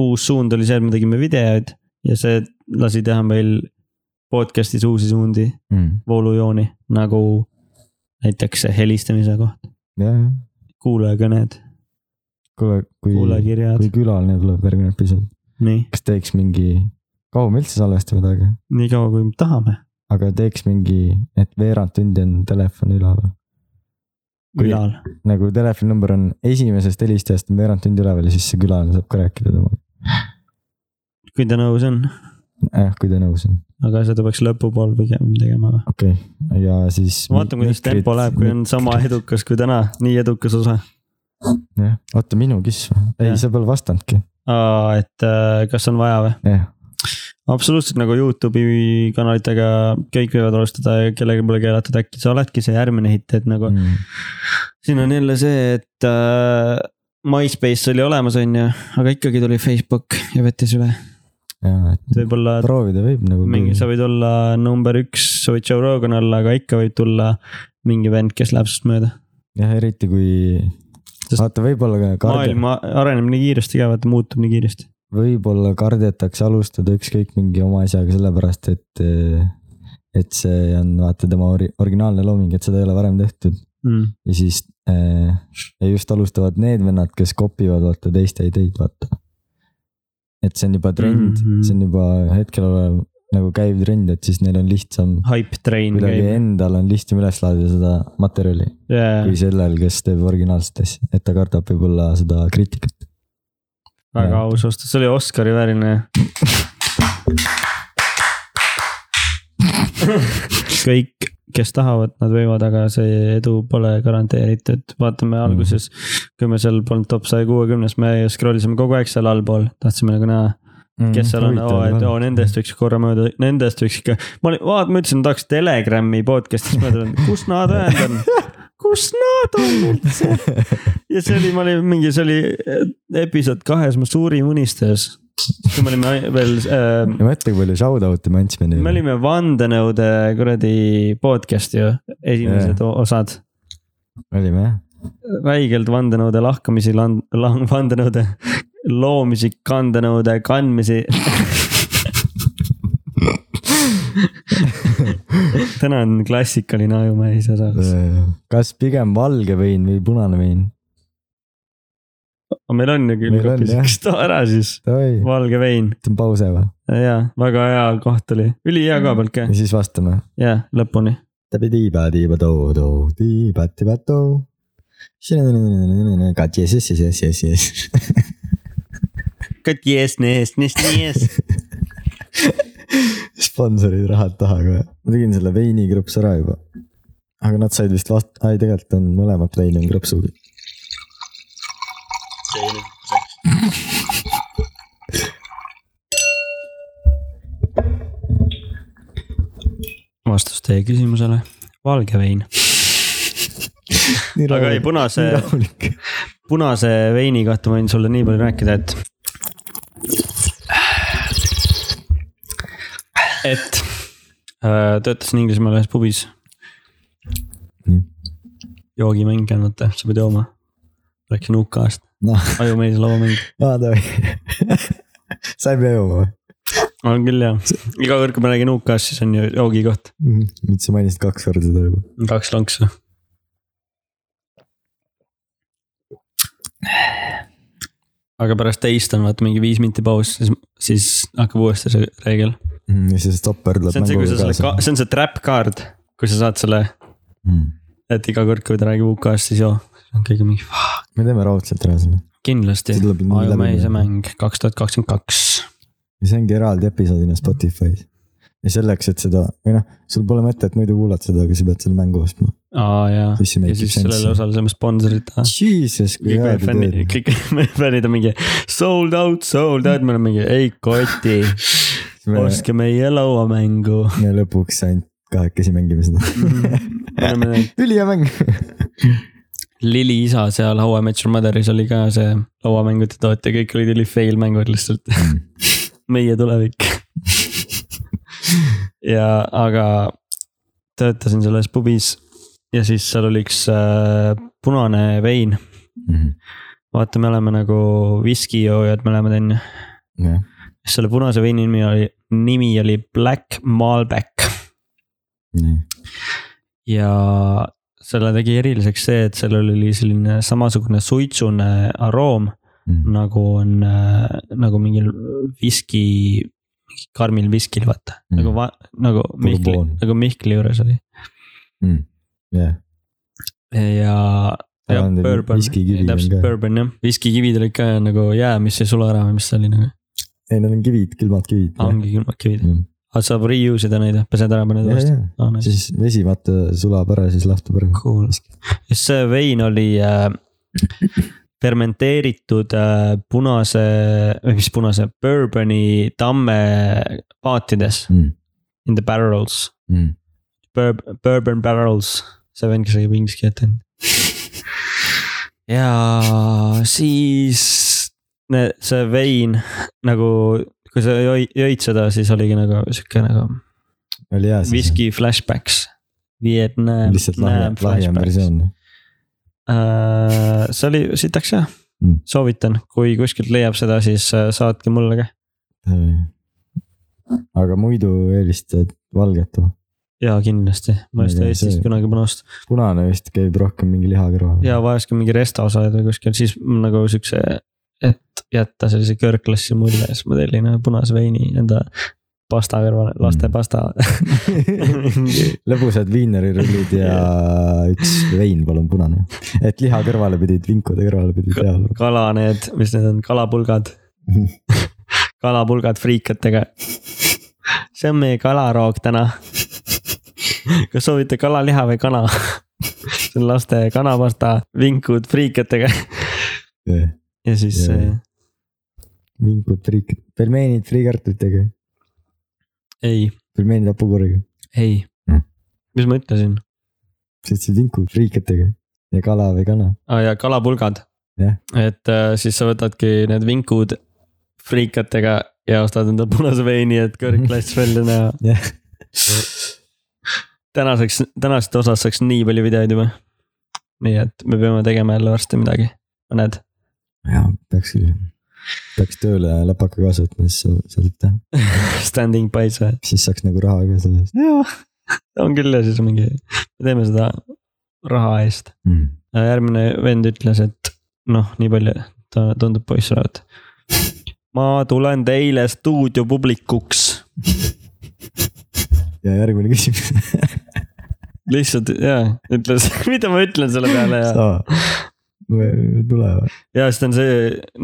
[SPEAKER 2] uus suund oli see , et me tegime videoid ja see lasi teha meil podcast'is uusi suundi , voolujooni nagu näiteks see helistamise koht ,
[SPEAKER 1] jah ,
[SPEAKER 2] kuulajakõned ,
[SPEAKER 1] kuule , kui ,
[SPEAKER 2] kuulajakirjad
[SPEAKER 1] kui , külaline tuleb järgmine episood ,
[SPEAKER 2] nii ,
[SPEAKER 1] kas teeks mingi , kaua me üldse salvestame taga ?
[SPEAKER 2] nii kaua kui me tahame .
[SPEAKER 1] aga teeks mingi , et veerand tundi on telefon üleval . Kui-
[SPEAKER 2] külal ,
[SPEAKER 1] nagu telefoninumber on esimesest helistajast on veerand tundi üleval ja siis see külaline saab ka rääkida temaga ,
[SPEAKER 2] kui ta nõus on ,
[SPEAKER 1] eh, kui ta nõus on ,
[SPEAKER 2] aga seda peaks lõpupool pigem tegema .
[SPEAKER 1] okei okay. , ja siis .
[SPEAKER 2] vaatame , kuidas tempo läheb , kui on sama . edukas kui täna , nii edukas osa .
[SPEAKER 1] jah , oota minu kiss või , ei
[SPEAKER 2] Jah.
[SPEAKER 1] sa pole vastanudki ,
[SPEAKER 2] et äh, kas on vaja või ?
[SPEAKER 1] jah ,
[SPEAKER 2] absoluutselt nagu Youtube'i kanalitega kõik võivad alustada ja kellelgi pole keelatud ,
[SPEAKER 1] Mm.
[SPEAKER 2] äkki sa oledki see järgmine hitt , et nagu mm. siin on jälle see , et äh, MySpace oli olemas , on ju , aga ikkagi tuli Facebook ja võttis üle .
[SPEAKER 1] jaa , et
[SPEAKER 2] võib-olla
[SPEAKER 1] proovida võib nagu .
[SPEAKER 2] mingi , sa võid olla number üks , sa võid Joe Rogan olla , aga ikka võib tulla mingi vend , kes läheb sinust mööda .
[SPEAKER 1] jah , eriti kui ,
[SPEAKER 2] Sest-
[SPEAKER 1] vaata , võib-olla ka kardi-
[SPEAKER 2] maailm a- areneb nii kiiresti ka , vaata muutub nii kiiresti .
[SPEAKER 1] võib-olla kardetakse alustada ükskõik mingi oma asjaga sellepärast , et , et see on vaata tema ori- originaalne looming , et seda ei ole varem tehtud
[SPEAKER 2] Mm.
[SPEAKER 1] ja siis äh, ja just alustavad need vennad , kes kopivad vaata teiste ideid , vaata . et see on juba trend mm ,
[SPEAKER 2] Mhm.
[SPEAKER 1] -hmm. see on juba hetkel olev nagu käiv trend , et siis neil on lihtsam ,
[SPEAKER 2] Hype train
[SPEAKER 1] kuidagi
[SPEAKER 2] käib ,
[SPEAKER 1] endal on lihtsam üles laadida seda materjali
[SPEAKER 2] jaa ,
[SPEAKER 1] kui sellel , kes teeb originaalset asja , et ta kardab võib-olla seda kriitikat .
[SPEAKER 2] väga
[SPEAKER 1] jah.
[SPEAKER 2] aus vastus , see oli Oscari vääriline . kõik , kes tahavad , nad võivad , aga see edu pole garanteeritud , vaatame alguses , kui me seal polnud top saja kuuekümnes , me scroll isime kogu aeg seal allpool , tahtsime nagu näha
[SPEAKER 1] Mm.
[SPEAKER 2] kes seal on , oo , et oo , nendest võiks korra mööda , nendest võiks ikka . ma olin , vaat ma ütlesin , tahaks Telegrami podcast'is mööda , kus nad ühed on , kus nad on üldse . ja see oli , ma olin mingi , see oli eh, episood kahes , mu suurim unistajas . kui me olime ai- veel äh, ,
[SPEAKER 1] ja mõtle , kui palju shout out'i me andsime
[SPEAKER 2] me
[SPEAKER 1] neile .
[SPEAKER 2] olime vandenõude kuradi podcast'i ju , esimesed yeah. osad .
[SPEAKER 1] olime jah ,
[SPEAKER 2] räigelt vandenõude lahkamisi , vandenõude loomisi , kandenõude kandmisi . täna on klassikaline ajumähis osas .
[SPEAKER 1] kas pigem valge vein või punane vein ?
[SPEAKER 2] aga meil on ju küll
[SPEAKER 1] Meil on, jah.
[SPEAKER 2] hoopis , too ära siis ,
[SPEAKER 1] oi ,
[SPEAKER 2] valge vein
[SPEAKER 1] võtame pause või ?
[SPEAKER 2] ja väga hea koht oli , ülihea koha pealt ka
[SPEAKER 1] ja , siis vastame .
[SPEAKER 2] ja lõpuni .
[SPEAKER 1] tiba tiba too too , tiba tiba too . Katjes , yes , yes , yes , yes , yes . sponsorid rahad taha kohe . ma tegin selle veinikrõpsu ära juba . aga nad said vist vast- , ei tegelikult on mõlemat veini on krõpsuga .
[SPEAKER 2] vastus teie küsimusele , valge vein .
[SPEAKER 1] nii
[SPEAKER 2] aga ei ,
[SPEAKER 1] rahulik ,
[SPEAKER 2] punase
[SPEAKER 1] nii , rahulik .
[SPEAKER 2] punase veini kohta ma võin sulle nii palju rääkida , et . et äh, töötasin Inglismaal ühes pubis .
[SPEAKER 1] Nii.
[SPEAKER 2] joogimäng on , vaata , sa pead jooma . Läksin UK-st ,
[SPEAKER 1] noh ,
[SPEAKER 2] ajumees lauamäng ,
[SPEAKER 1] vaata . sa ei pea jooma või ?
[SPEAKER 2] on küll jah , iga kord , kui ma räägin UK-st , siis on ju joogikoht ,
[SPEAKER 1] nüüd sa mainisid kaks korda seda juba .
[SPEAKER 2] kaks lonksu . aga pärast teist on vaata mingi viis minti paus , siis , siis hakkab uuesti see reegel .
[SPEAKER 1] Mhm, ja siis stopper tuleb
[SPEAKER 2] see on see , kui sa selle
[SPEAKER 1] mänguga , kaasa . Mhm.
[SPEAKER 2] see on see trap card , kui sa saad selle , et iga kord , kui ta räägib UK-st , siis joo , kõige mingi "Fuck,
[SPEAKER 1] me teeme raudselt ära selle .
[SPEAKER 2] kindlasti
[SPEAKER 1] see . tuleb nii läbi .
[SPEAKER 2] ajumehise mäng kaks tuhat kakskümmend kaks .
[SPEAKER 1] ja see ongi eraldi episoodina Spotify's . ja selleks , et seda või noh , sul pole mõtet muidu kuulata seda , aga sa pead selle mängu ostma .
[SPEAKER 2] aa jaa ,
[SPEAKER 1] Siis see
[SPEAKER 2] ja
[SPEAKER 1] make
[SPEAKER 2] siis
[SPEAKER 1] sense.
[SPEAKER 2] sellele osale saame sponsorit teha .
[SPEAKER 1] Jesus , kui
[SPEAKER 2] kõik
[SPEAKER 1] hea
[SPEAKER 2] meie
[SPEAKER 1] te
[SPEAKER 2] fännid ,
[SPEAKER 1] teete .
[SPEAKER 2] kõik meie fännid on mingi sold out , sold out , me oleme mingi ei koti ,
[SPEAKER 1] me
[SPEAKER 2] ostke meie lauamängu .
[SPEAKER 1] me lõpuks ainult kahekesi mängime
[SPEAKER 2] Mhm.
[SPEAKER 1] seda .
[SPEAKER 2] me oleme need
[SPEAKER 1] ülihea mäng .
[SPEAKER 2] Lili isa seal How I Met Your Mother'is oli ka see lauamängute tootja , kõik olid üli fail mängud lihtsalt . meie tulevik . ja , aga töötasin selles pubis ja siis seal oli üks äh, punane vein . Mhm. vaata , me oleme nagu viskijoojad , me oleme onju .
[SPEAKER 1] Mhm. jah ,
[SPEAKER 2] selle punase veini nimi oli , nimi oli Black Malbec
[SPEAKER 1] nii .
[SPEAKER 2] ja selle tegi eriliseks see , et sellel oli selline samasugune suitsune aroom
[SPEAKER 1] Mhm.
[SPEAKER 2] nagu on äh, nagu mingil viski , karmil viskil , vaata mm. ,
[SPEAKER 1] Mm.
[SPEAKER 2] nagu va, , nagu Mihkli
[SPEAKER 1] Bourbon. ,
[SPEAKER 2] nagu Mihkli juures oli
[SPEAKER 1] jah ,
[SPEAKER 2] ja .
[SPEAKER 1] Tal on teil viskikivid on
[SPEAKER 2] täpselt
[SPEAKER 1] ka.
[SPEAKER 2] bourbon jah , viskikivid olid ka nagu jää , mis ei sula ära või mis see oli nagu ,
[SPEAKER 1] ei need on kivid , külmad kivid . Mhm.
[SPEAKER 2] ongi külmad kivid ,
[SPEAKER 1] ja ,
[SPEAKER 2] aga saab reuse ida neid , pesed ära , paned uuesti .
[SPEAKER 1] ja siis vesi vaata sulab ära , siis lahtub ära .
[SPEAKER 2] Cool , ja see vein oli äh, fermenteeritud äh, punase , või mis punase , bourboni tamme paatides ,
[SPEAKER 1] Mhm.
[SPEAKER 2] in the barrels Bourb- , bourbon barrels , see vend , kes räägib inglise keelt on . ja siis ne, see vein nagu , kui sa jõi- jõid seda , siis oligi nagu sihuke nagu
[SPEAKER 1] oli hea siis .
[SPEAKER 2] viski flashbacks . Vietnam .
[SPEAKER 1] lihtsalt lahjem , lahjem versioon .
[SPEAKER 2] Äh, see oli sitaks jah
[SPEAKER 1] Mm.
[SPEAKER 2] mm. , soovitan , kui kuskilt leiab seda , siis äh, saatke mulle ka
[SPEAKER 1] aga muidu eelistad valget või ?
[SPEAKER 2] ja kindlasti , ma ei
[SPEAKER 1] Aga
[SPEAKER 2] osta Eestis
[SPEAKER 1] see-
[SPEAKER 2] kunagi punast
[SPEAKER 1] punane vist käib rohkem mingi liha kõrval .
[SPEAKER 2] ja vahest ka mingi resto saad või kuskil , siis mul nagu siukse , et jätta sellise kõrgklassi mulje , siis ma tellin ühe punase veini enda pasta kõrvale , laste
[SPEAKER 1] Mm.
[SPEAKER 2] pasta
[SPEAKER 1] lõbusad viinerirullid ja üks vein , palun punane . et liha kõrvale pidid , vinkude kõrvale pidid peale .
[SPEAKER 2] kala need , mis need on , kalapulgad . kalapulgad friikatega . see on meie kalaroog täna . kas soovite kalaliha või kana ? see on laste kanapasta , vinkud friikatega ja siis eh,
[SPEAKER 1] Jaa.
[SPEAKER 2] yeah.
[SPEAKER 1] vinkud friik- , pelmeenid friikartulitega ,
[SPEAKER 2] ei ,
[SPEAKER 1] pelmeenid hapukorriga .
[SPEAKER 2] ei
[SPEAKER 1] Mm.
[SPEAKER 2] mis ma ütlesin
[SPEAKER 1] sa ütlesid vinkud friikatega ja kala või kana .
[SPEAKER 2] ah, , ja kalapulgad
[SPEAKER 1] Jah.
[SPEAKER 2] et äh, siis sa võtadki need vinkud friikatega ja ostad endale punase veini , et kõrgklass välja näha .
[SPEAKER 1] jah ,
[SPEAKER 2] tänaseks , tänasest osast saaks nii palju videoid juba . nii et me peame tegema jälle varsti midagi , mõned .
[SPEAKER 1] ja peaks küll , peaks tööle läpaka kaasa võtma , siis sa- sa saad teha ,
[SPEAKER 2] Standing by's või ?
[SPEAKER 1] siis saaks nagu raha ka selle eest
[SPEAKER 2] jah , on küll ja siis mingi , me teeme seda raha eest .
[SPEAKER 1] mm. .
[SPEAKER 2] järgmine vend ütles , et noh , nii palju , ta tundub poiss olevat . ma tulen teile stuudio publikuks ,
[SPEAKER 1] ja järgmine küsimus
[SPEAKER 2] lihtsalt jaa , ütles , mida ma ütlen selle peale ja ,
[SPEAKER 1] sama . tule ,
[SPEAKER 2] ja siis ta on see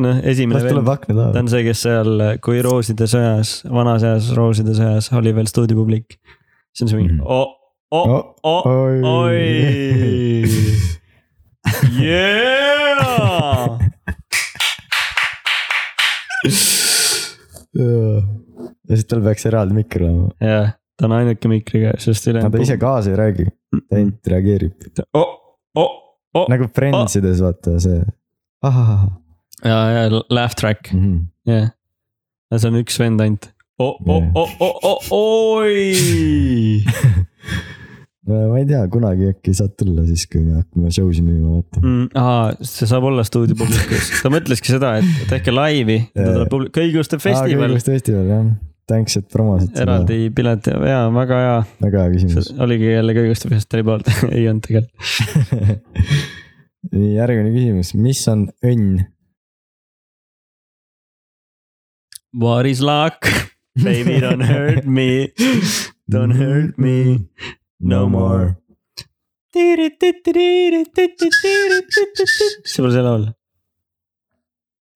[SPEAKER 2] noh , esimene
[SPEAKER 1] las
[SPEAKER 2] vend
[SPEAKER 1] tuleb akna
[SPEAKER 2] ta
[SPEAKER 1] taha .
[SPEAKER 2] on see , kes seal , kui Rooside sõjas , vanas eas Rooside sõjas oli veel stuudiopublik . siis on see mingi "Oh,
[SPEAKER 1] Mhm. Oh,
[SPEAKER 2] oo , oo , oo , oi ,
[SPEAKER 1] oh."
[SPEAKER 2] jaa .
[SPEAKER 1] ja siis tal peaks eraldi mikker olema ,
[SPEAKER 2] jah , ta on ainuke mikriga , sest
[SPEAKER 1] aga ta ise
[SPEAKER 2] ülejäänud .
[SPEAKER 1] kaasa ei räägi ,
[SPEAKER 2] Mm.
[SPEAKER 1] ta ainult reageerib
[SPEAKER 2] oo , oo , oo
[SPEAKER 1] nagu Friendsides vaata see .
[SPEAKER 2] ja , ja laugh track ,
[SPEAKER 1] Mhm.
[SPEAKER 2] jah . ja see on üks vend ainult . oo , oo , oo , oo , oo , oi .
[SPEAKER 1] ma ei tea , kunagi äkki saad tulla siis , kui me hakkame show si müüma , vaata .
[SPEAKER 2] mm, . aa , see saab olla stuudiopublikus , ta mõtleski seda , et tehke laivi ,
[SPEAKER 1] Jaa.
[SPEAKER 2] kõiguste festival ,
[SPEAKER 1] festival jah , thanks , et promosid seda ,
[SPEAKER 2] eraldi pilet ja , ja väga hea ,
[SPEAKER 1] väga hea küsimus .
[SPEAKER 2] oligi jälle kõiguste festivali poolt , ei olnud tegelikult .
[SPEAKER 1] nii , järgmine küsimus , mis on õnn ?
[SPEAKER 2] What is luck ? Baby don't hurt me , don't hurt me no more . see pole see laul ,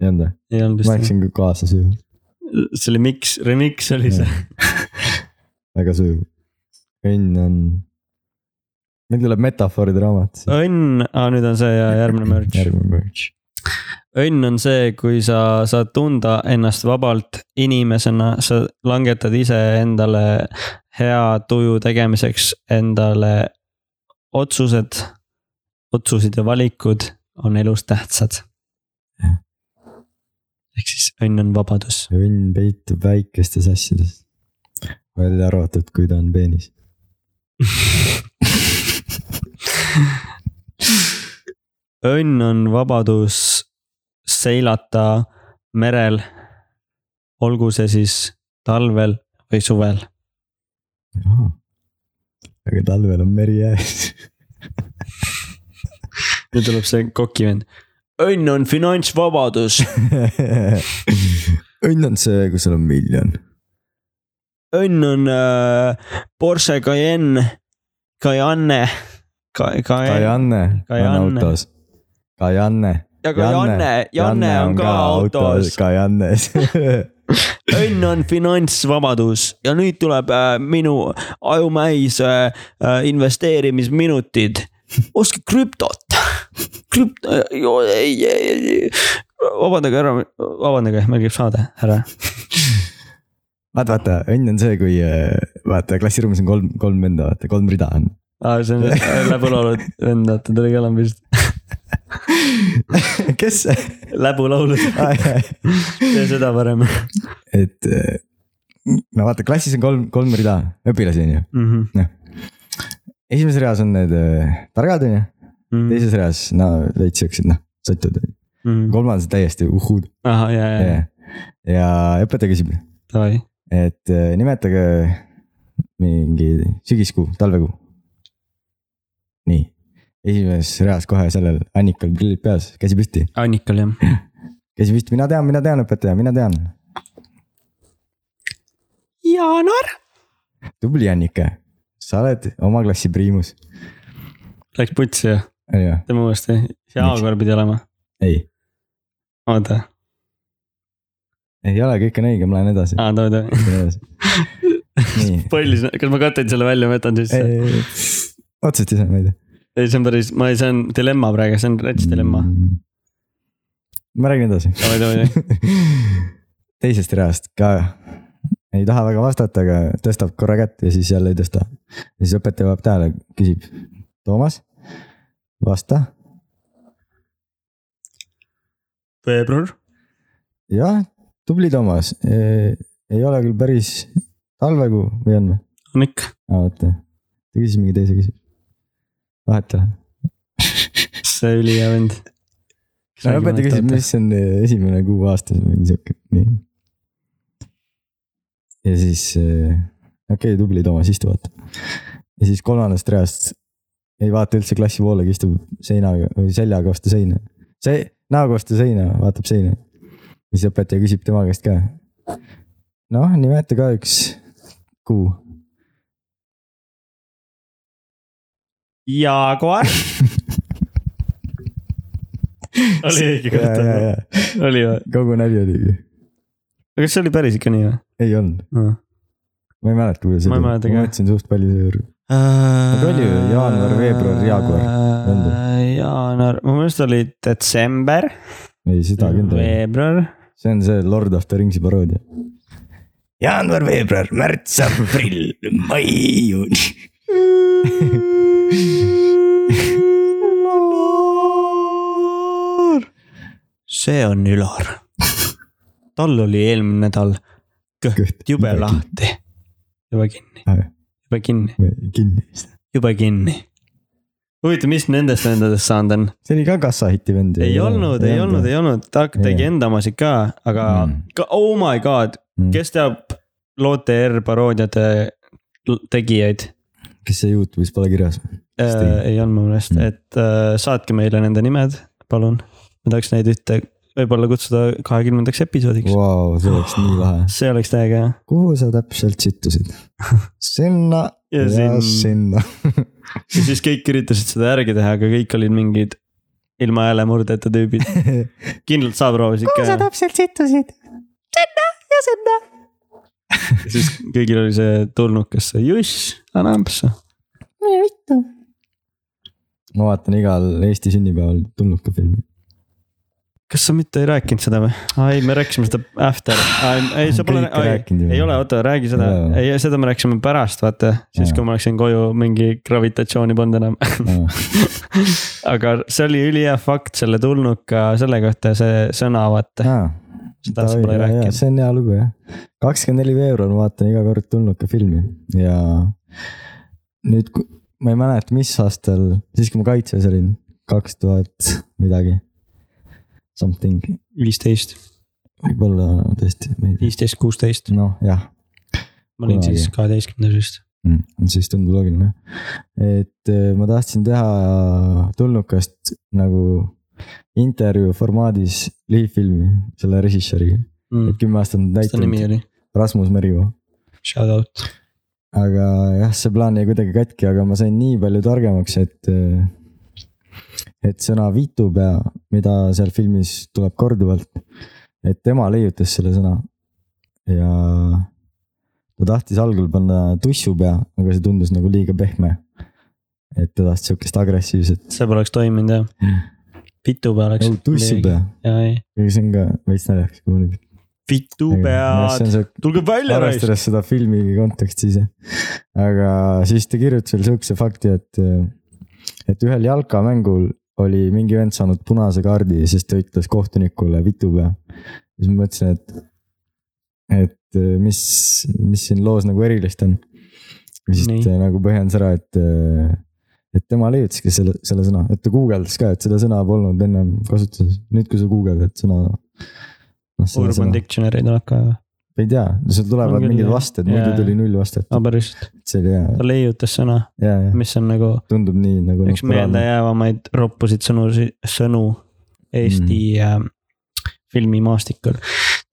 [SPEAKER 1] ei olnud või ?
[SPEAKER 2] ei olnud
[SPEAKER 1] ma
[SPEAKER 2] vist ,
[SPEAKER 1] läksin ka kaasa sujuv ,
[SPEAKER 2] see oli mix , remix oli see ,
[SPEAKER 1] väga sujuv . õnn on , meil tuleb metafooride raamat .
[SPEAKER 2] õnn , aa nüüd on see ja järgmine Oh, merch .
[SPEAKER 1] järgmine merch .
[SPEAKER 2] õnn on see , kui sa saad tunda ennast vabalt inimesena , sa langetad iseendale hea tuju tegemiseks endale otsused . otsused ja valikud on elus tähtsad .
[SPEAKER 1] Jah.
[SPEAKER 2] ehk siis õnn on vabadus .
[SPEAKER 1] õnn peitub väikestes asjades , välja arvatud , kui ta on peenis .
[SPEAKER 2] õnn on vabadus seilata merel , olgu see siis talvel või suvel .
[SPEAKER 1] aga talvel on meri ääres .
[SPEAKER 2] nüüd tuleb see kokivend . õnn on finantsvabadus ,
[SPEAKER 1] õnn on see , kui sul on miljon .
[SPEAKER 2] õnn on äh, Porsche Cayenne , Cayenne , Cayenne
[SPEAKER 1] Kajanne on
[SPEAKER 2] Kajanne.
[SPEAKER 1] autos . Kajanne .
[SPEAKER 2] ja Cayenne , Janne on ka autos .
[SPEAKER 1] Kajannes .
[SPEAKER 2] õnn on finantsvabadus ja nüüd tuleb äh, minu ajumäis äh, äh, investeerimisminutid . ostke krüptot , krüpt- , ei , ei , ei , vabandage ära , vabandage , meil käib saade ära .
[SPEAKER 1] vaata , vaata , õnn on see , kui äh, vaata klassiruumis on kolm , kolm
[SPEAKER 2] Ah,
[SPEAKER 1] venda , vaata kolm rida on .
[SPEAKER 2] äh, aa , see on läbi laulud vend , vaata ta oli ka enam vist .
[SPEAKER 1] kes see
[SPEAKER 2] läbulaulud , tee seda parem
[SPEAKER 1] et eh, no vaata , klassis on kolm , kolm rida õpilasi , on ju .
[SPEAKER 2] mm .
[SPEAKER 1] esimeses reas on need eh, targad , on ju ,
[SPEAKER 2] -hmm.
[SPEAKER 1] teises reas , no veits siuksed , noh , sottud .
[SPEAKER 2] Mm.
[SPEAKER 1] kolmandas täiesti uhud .
[SPEAKER 2] ahah , ja , ja , ja ,
[SPEAKER 1] ja õpetaja küsib ,
[SPEAKER 2] davai ,
[SPEAKER 1] et eh, nimetage mingi sügiskuu , talvekuu . nii , esimeses reas kohe sellel Annikal prillid peas , käsi püsti ,
[SPEAKER 2] Annikal jah .
[SPEAKER 1] käsi püsti , mina tean , mina tean , õpetaja , mina tean .
[SPEAKER 2] jaanuar .
[SPEAKER 1] tubli Annike , sa oled oma klassi priimus ,
[SPEAKER 2] Läks putsi jah ,
[SPEAKER 1] on ju ,
[SPEAKER 2] tema uuesti , jaanuar pidi olema ,
[SPEAKER 1] ei
[SPEAKER 2] oota ,
[SPEAKER 1] ei ole , kõik on õige , ma lähen edasi .
[SPEAKER 2] aa davai , davai ,
[SPEAKER 1] nii ,
[SPEAKER 2] palju , kas ma katan selle välja , ma jätan sisse ?
[SPEAKER 1] otseselt ei saa meelde .
[SPEAKER 2] ei , see on päris , ma ei , see on dilemma praegu , see on rets dilemma .
[SPEAKER 1] Mm. ma räägin edasi .
[SPEAKER 2] davai , davai ,
[SPEAKER 1] teisest reast ka ei taha väga vastata , aga tõstab korra kätt ja siis jälle ei tõsta . ja siis õpetaja peab tähele , küsib , Toomas , vasta .
[SPEAKER 2] veebruar ,
[SPEAKER 1] jah , tubli Toomas , ei ole küll päris talvekuu või on või ?
[SPEAKER 2] Annik ,
[SPEAKER 1] aa , oota , ta küsis mingi teise küsimuse . vahet ei ole .
[SPEAKER 2] see ülihea vend .
[SPEAKER 1] no õpetaja küsib , mis on eh, esimene kuu aastas või mingi sihuke , nii . ja siis , okei okay, , tubli Toomas , istu vaata . ja siis kolmandast reast ei vaata üldse klassi poolegi , istub seinaga või seljaga vastu seina . see , näoga vastu seina , vaatab seina . siis õpetaja küsib tema käest ka . noh , nimeta ka üks kuu .
[SPEAKER 2] jaaguar . oli õige kord ,
[SPEAKER 1] kogu
[SPEAKER 2] oli või ?
[SPEAKER 1] nali oligi ,
[SPEAKER 2] aga kas see oli päris ikka nii
[SPEAKER 1] ei olnud ,
[SPEAKER 2] või ?
[SPEAKER 1] ma ei mäleta , kuidas see
[SPEAKER 2] Ma ei mäleta ka.
[SPEAKER 1] ma mõtlesin suht palju selle juurde .
[SPEAKER 2] Nad
[SPEAKER 1] oli ju jaanuar, veebruar, jaaguar, nõnda.
[SPEAKER 2] jaanuar , mu meelest oli detsember ,
[SPEAKER 1] ei , seda kindlasti .
[SPEAKER 2] veebruar ,
[SPEAKER 1] see on see Lord of the Rings'i paroodia . jaanuar , veebruar , märts , aprill , mai , juuni .
[SPEAKER 2] see on Ülar . tal oli eelmine nädal kõht jube
[SPEAKER 1] Jube
[SPEAKER 2] lahti , jube kinni , jube kinni ,
[SPEAKER 1] äh, kinni .
[SPEAKER 2] jube kinni . huvitav , mis nendest vendadest saanud on ?
[SPEAKER 1] see oli ka kassahitti vend .
[SPEAKER 2] ei olnud , ei olnud , ei olnud , ta tegi
[SPEAKER 1] Jah.
[SPEAKER 2] enda omasid ka , aga
[SPEAKER 1] Mm.
[SPEAKER 2] ka, oh my god ,
[SPEAKER 1] olnud kes ?
[SPEAKER 2] kes teab Lotte R paroodiate l- tegijaid ?
[SPEAKER 1] kes see Youtube'is pole kirjas ? Stig.
[SPEAKER 2] Äh, ei olnud mu meelest ,
[SPEAKER 1] Mm.
[SPEAKER 2] et äh, saatke meile nende nimed , palun . ma tahaks neid ühte võib-olla kutsuda kahekümnendaks episoodiks wow. .
[SPEAKER 1] Vau , see oleks nii lahe .
[SPEAKER 2] see oleks täiega hea .
[SPEAKER 1] kuhu sa täpselt sittusid ? sinna
[SPEAKER 2] Ja
[SPEAKER 1] ja, ja
[SPEAKER 2] sin-
[SPEAKER 1] sinna .
[SPEAKER 2] ja siis kõik üritasid seda järgi teha , aga kõik olid mingid ilma häälemurdeta tüübid . kindlalt sa proovisid ka ,
[SPEAKER 1] täpselt sittusid ? sinna ja sinna .
[SPEAKER 2] siis kõigil oli see tulnukas , juss , anna ampsu .
[SPEAKER 1] mine vittu . ma vaatan igal Eesti sünnipäeval tulnuka filmi .
[SPEAKER 2] kas sa mitte ei rääkinud seda või ? ei , me rääkisime seda after , ei sa pole ,
[SPEAKER 1] Kõike rääkinud ju.
[SPEAKER 2] ei ole , oota , räägi seda
[SPEAKER 1] Jaa. ,
[SPEAKER 2] ei seda me rääkisime pärast , vaata , siis
[SPEAKER 1] Jaa.
[SPEAKER 2] kui ma läksin koju , mingi gravitatsiooni polnud enam . aga see oli ülihea fakt selle tulnuka selle kohta , see sõna , vaata ,
[SPEAKER 1] aa ,
[SPEAKER 2] seda sa
[SPEAKER 1] Davai,
[SPEAKER 2] pole
[SPEAKER 1] jaa, jaa,
[SPEAKER 2] rääkinud .
[SPEAKER 1] see on hea lugu jah , kakskümmend neli veebruar ma vaatan iga kord tulnuka filmi ja nüüd , ma ei mäleta , mis aastal , siis kui ma kaitses olin , kaks tuhat midagi . Something ,
[SPEAKER 2] viisteist ,
[SPEAKER 1] võib-olla tõesti , ma ei tea ,
[SPEAKER 2] viisteist , kuusteist ,
[SPEAKER 1] noh jah
[SPEAKER 2] ma olin
[SPEAKER 1] Kunagi.
[SPEAKER 2] siis kaheteistkümnes vist .
[SPEAKER 1] mm, , siis tundub loogiline . et eh, ma tahtsin teha tulnukast nagu intervjuu formaadis lühifilmi selle režissööriga , et kümme aastat on
[SPEAKER 2] mis Mm. ta nimi
[SPEAKER 1] täitunud ,
[SPEAKER 2] oli ?
[SPEAKER 1] Rasmus Merivoo .
[SPEAKER 2] Shout out .
[SPEAKER 1] aga jah , see plaan jäi kuidagi katki , aga ma sain nii palju targemaks , et , et sõna vitupea , mida seal filmis tuleb korduvalt , et tema leiutas selle sõna . ja ta tahtis algul panna tussupea , aga see tundus nagu liiga pehme . et ta tahtis sihukest agressiivset ,
[SPEAKER 2] see poleks toiminud jah . pitupea oleks .
[SPEAKER 1] tussupea ,
[SPEAKER 2] jaa , ei .
[SPEAKER 1] aga see on ka veits naljakas , kui ma nüüd .
[SPEAKER 2] pitupead , tulge välja raisk .
[SPEAKER 1] arvestades seda filmi konteksti ise . aga siis ta kirjutas veel sihukese fakti , et , et ühel jalkamängul oli mingi vend saanud punase kaardi ja siis ta ütles kohtunikule vitu pea. siis ma mõtlesin, et, et äh, mis, mis siin loos nagu erilist on. ja siis
[SPEAKER 2] Nii.
[SPEAKER 1] ta nagu põhjendas ära , et , et tema leiutiski selle , selle sõna , et ta guugeldas ka , et seda sõna polnud ennem kasutuses . nüüd , kui sa guugeldad sõna . noh,
[SPEAKER 2] Urban
[SPEAKER 1] ma
[SPEAKER 2] Dictionary tuleb ka ,
[SPEAKER 1] ei tea , sul
[SPEAKER 2] On
[SPEAKER 1] tulevad
[SPEAKER 2] küll,
[SPEAKER 1] mingid
[SPEAKER 2] jah.
[SPEAKER 1] vasted , muidu
[SPEAKER 2] Jaa.
[SPEAKER 1] tuli null vastet ,
[SPEAKER 2] aga päriselt ,
[SPEAKER 1] see oli hea ,
[SPEAKER 2] ta leiutas sõna ,
[SPEAKER 1] hea , hea ,
[SPEAKER 2] mis on nagu
[SPEAKER 1] tundub nii nagu .
[SPEAKER 2] üks meeldejäävamaid roppusid sõnu , sõnu Eesti mm. äh, filmimaastikul .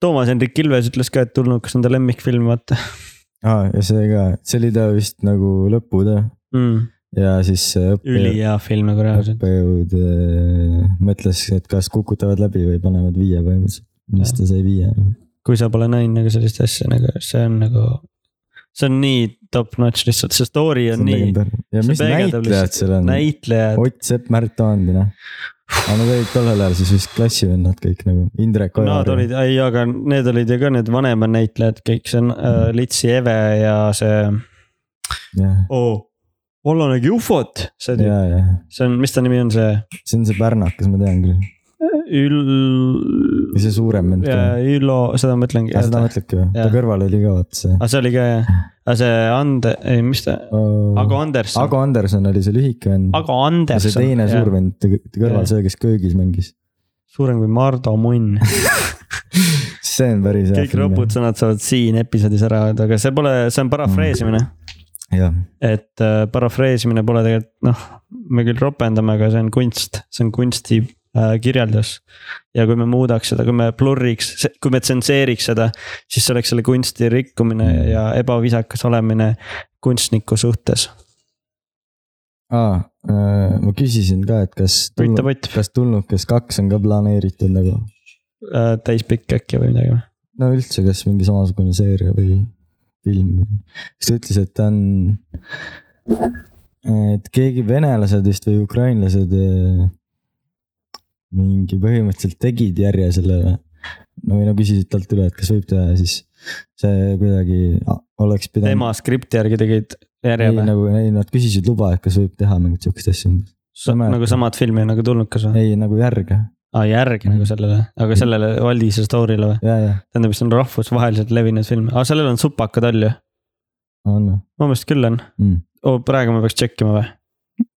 [SPEAKER 2] Toomas Hendrik Ilves ütles ka , et tulnukas on ta lemmikfilm , vaata
[SPEAKER 1] aa , ja see ka , see oli ta vist nagu lõputöö
[SPEAKER 2] mm. .
[SPEAKER 1] ja siis see õppejõud ,
[SPEAKER 2] ülihea film nagu reaalselt .
[SPEAKER 1] õppejõud äh, mõtles , et kas kukutavad läbi või panevad viie põhimõtteliselt . siis ta sai viie .
[SPEAKER 2] kui sa pole näinud nagu sellist asja nagu , see on nagu , see on nii top notch lihtsalt , see story on nii ,
[SPEAKER 1] ja
[SPEAKER 2] See
[SPEAKER 1] mis
[SPEAKER 2] peegeldab lihtsalt
[SPEAKER 1] näitlejad seal on ?
[SPEAKER 2] näitlejad ,
[SPEAKER 1] Ott Sepp , Märt Aandina . aga nad olid tollel ajal siis vist klassivennad kõik nagu , Indrek
[SPEAKER 2] nad
[SPEAKER 1] Ojaru .
[SPEAKER 2] olid , ei , aga need olid ju ka need vanemad näitlejad kõik , see on äh,
[SPEAKER 1] Mm.
[SPEAKER 2] Litsi Eve ja see
[SPEAKER 1] ja ,
[SPEAKER 2] oh, , Vallo nägi ufot , see tüüp ,
[SPEAKER 1] ja , ja
[SPEAKER 2] see on , mis ta nimi on , see
[SPEAKER 1] see on see pärnakas , ma tean küll .
[SPEAKER 2] Ül-
[SPEAKER 1] või . see suurem vend ka .
[SPEAKER 2] ja Ülo , seda ma mõtlengi .
[SPEAKER 1] aga seda
[SPEAKER 2] aga
[SPEAKER 1] mõtledki või ? ta
[SPEAKER 2] Jaa.
[SPEAKER 1] kõrval oli ka vaata see .
[SPEAKER 2] see oli ka jah , aga see Ande , ei mis ta , Ago Anderson ,
[SPEAKER 1] Ago Anderson oli see lühike vend .
[SPEAKER 2] Ago
[SPEAKER 1] ja see
[SPEAKER 2] Anderson .
[SPEAKER 1] teine suur vend , ta ta kõrval
[SPEAKER 2] Jah.
[SPEAKER 1] see , kes köögis mängis .
[SPEAKER 2] suurem kui Mardu Munn .
[SPEAKER 1] see on päris hea
[SPEAKER 2] kõik ropud . sõnad saavad siin episoodis ära öelda , aga see pole , see on parafreesimine ,
[SPEAKER 1] jah ,
[SPEAKER 2] et äh, parafreesimine pole tegelikult noh , me küll ropendame , aga see on kunst , see on kunsti äh, kirjeldus . ja kui me muudaks seda , kui me blurriks , kui me tsenseeriks seda , siis see oleks selle kunsti rikkumine ja ebaviisakas olemine kunstniku suhtes .
[SPEAKER 1] aa , Ah, äh, ma küsisin ka , et kas
[SPEAKER 2] Võita
[SPEAKER 1] tulnud ,
[SPEAKER 2] pott
[SPEAKER 1] kas tulnukas kaks on ka planeeritud nagu ,
[SPEAKER 2] äh, täispikk äkki või midagi või ?
[SPEAKER 1] no üldse , kas mingi samasugune seeria või film , siis ta ütles , et ta on , et keegi venelased vist või ukrainlased eh, mingi põhimõtteliselt tegid järje sellele . no või no küsisid talt üle , et kas võib teha ja siis see kuidagi a- oleks pidanud .
[SPEAKER 2] tema skripti järgi tegid järje
[SPEAKER 1] ei
[SPEAKER 2] või ?
[SPEAKER 1] nagu , ei nad küsisid luba , et kas võib teha mingit siukest asja umbes . mäletad.
[SPEAKER 2] nagu samad filmi nagu tulnukas või ?
[SPEAKER 1] ei nagu järge
[SPEAKER 2] aa , järg nagu sellele , aga sellele Valdise story'le või ?
[SPEAKER 1] ja , ja
[SPEAKER 2] tähendab , see on rahvusvaheliselt levinud film , aga sellel on supakad all ju ?
[SPEAKER 1] on või
[SPEAKER 2] mu meelest küll on
[SPEAKER 1] mm. ?
[SPEAKER 2] oh, . praegu ma peaks tšekkima või ?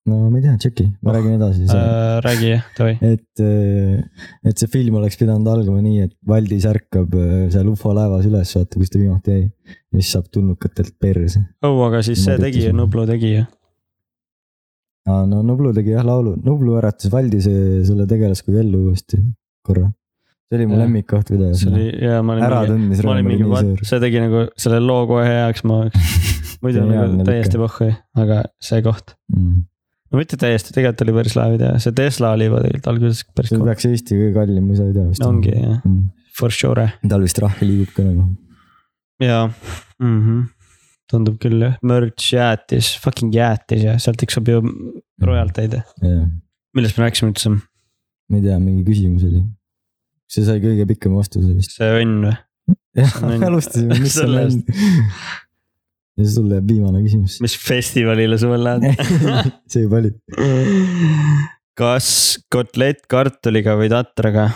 [SPEAKER 1] no ma ei tea , tšeki , ma
[SPEAKER 2] Oh,
[SPEAKER 1] räägin edasi siis .
[SPEAKER 2] Äh, räägi , Tovi .
[SPEAKER 1] et , et see film oleks pidanud algama nii , et Valdis ärkab äh, seal ufo laevas üles , vaata kus ta viimati jäi . ja siis saab tulnukatelt perse .
[SPEAKER 2] oh , aga siis see
[SPEAKER 1] Ma
[SPEAKER 2] tegi ju ,
[SPEAKER 1] tüütasin.
[SPEAKER 2] Nublu tegi ju .
[SPEAKER 1] aa , no Nublu tegi jah laulu , Nublu äratas Valdise selle tegelaskuju ellu uuesti korra . see oli mu
[SPEAKER 2] Jah.
[SPEAKER 1] lemmikkoht videos
[SPEAKER 2] see . oli , jaa , ma olin
[SPEAKER 1] ära
[SPEAKER 2] mingi ,
[SPEAKER 1] tundis
[SPEAKER 2] ma
[SPEAKER 1] rõõm , oli
[SPEAKER 2] olin mingi ,
[SPEAKER 1] nii suur .
[SPEAKER 2] see tegi nagu selle loo kohe heaks , ma oleks , muidu
[SPEAKER 1] Geniaalne
[SPEAKER 2] nagu
[SPEAKER 1] lükk.
[SPEAKER 2] täiesti pohhu , aga see koht .
[SPEAKER 1] Mm.
[SPEAKER 2] no mitte täiesti , tegelikult oli päris lahe video , see Tesla oli juba tegelikult alguses päris
[SPEAKER 1] see
[SPEAKER 2] cool ,
[SPEAKER 1] peaks Eesti kõige kallim musavideo vist
[SPEAKER 2] ongi jah ,
[SPEAKER 1] Mm.
[SPEAKER 2] for sure
[SPEAKER 1] tal vist rahvi liigub ka nagu .
[SPEAKER 2] ja mm . -hmm. tundub küll jah , merch jäätis , fucking jäätis ja sealt tiksub ju
[SPEAKER 1] Mhm.
[SPEAKER 2] rojalteid ,
[SPEAKER 1] jah ,
[SPEAKER 2] millest me rääkisime üldse ,
[SPEAKER 1] ma ei tea , mingi küsimus oli . see sai kõige pikema vastuse vist .
[SPEAKER 2] see õnn või ,
[SPEAKER 1] jah ,
[SPEAKER 2] on
[SPEAKER 1] me
[SPEAKER 2] õnn.
[SPEAKER 1] alustasime , mis on
[SPEAKER 2] Selle
[SPEAKER 1] läinud . ja siis sul jääb viimane küsimus .
[SPEAKER 2] mis festivalile suvel lähed ?
[SPEAKER 1] see juba oli .
[SPEAKER 2] kas kotlett kartuliga või tatraga ?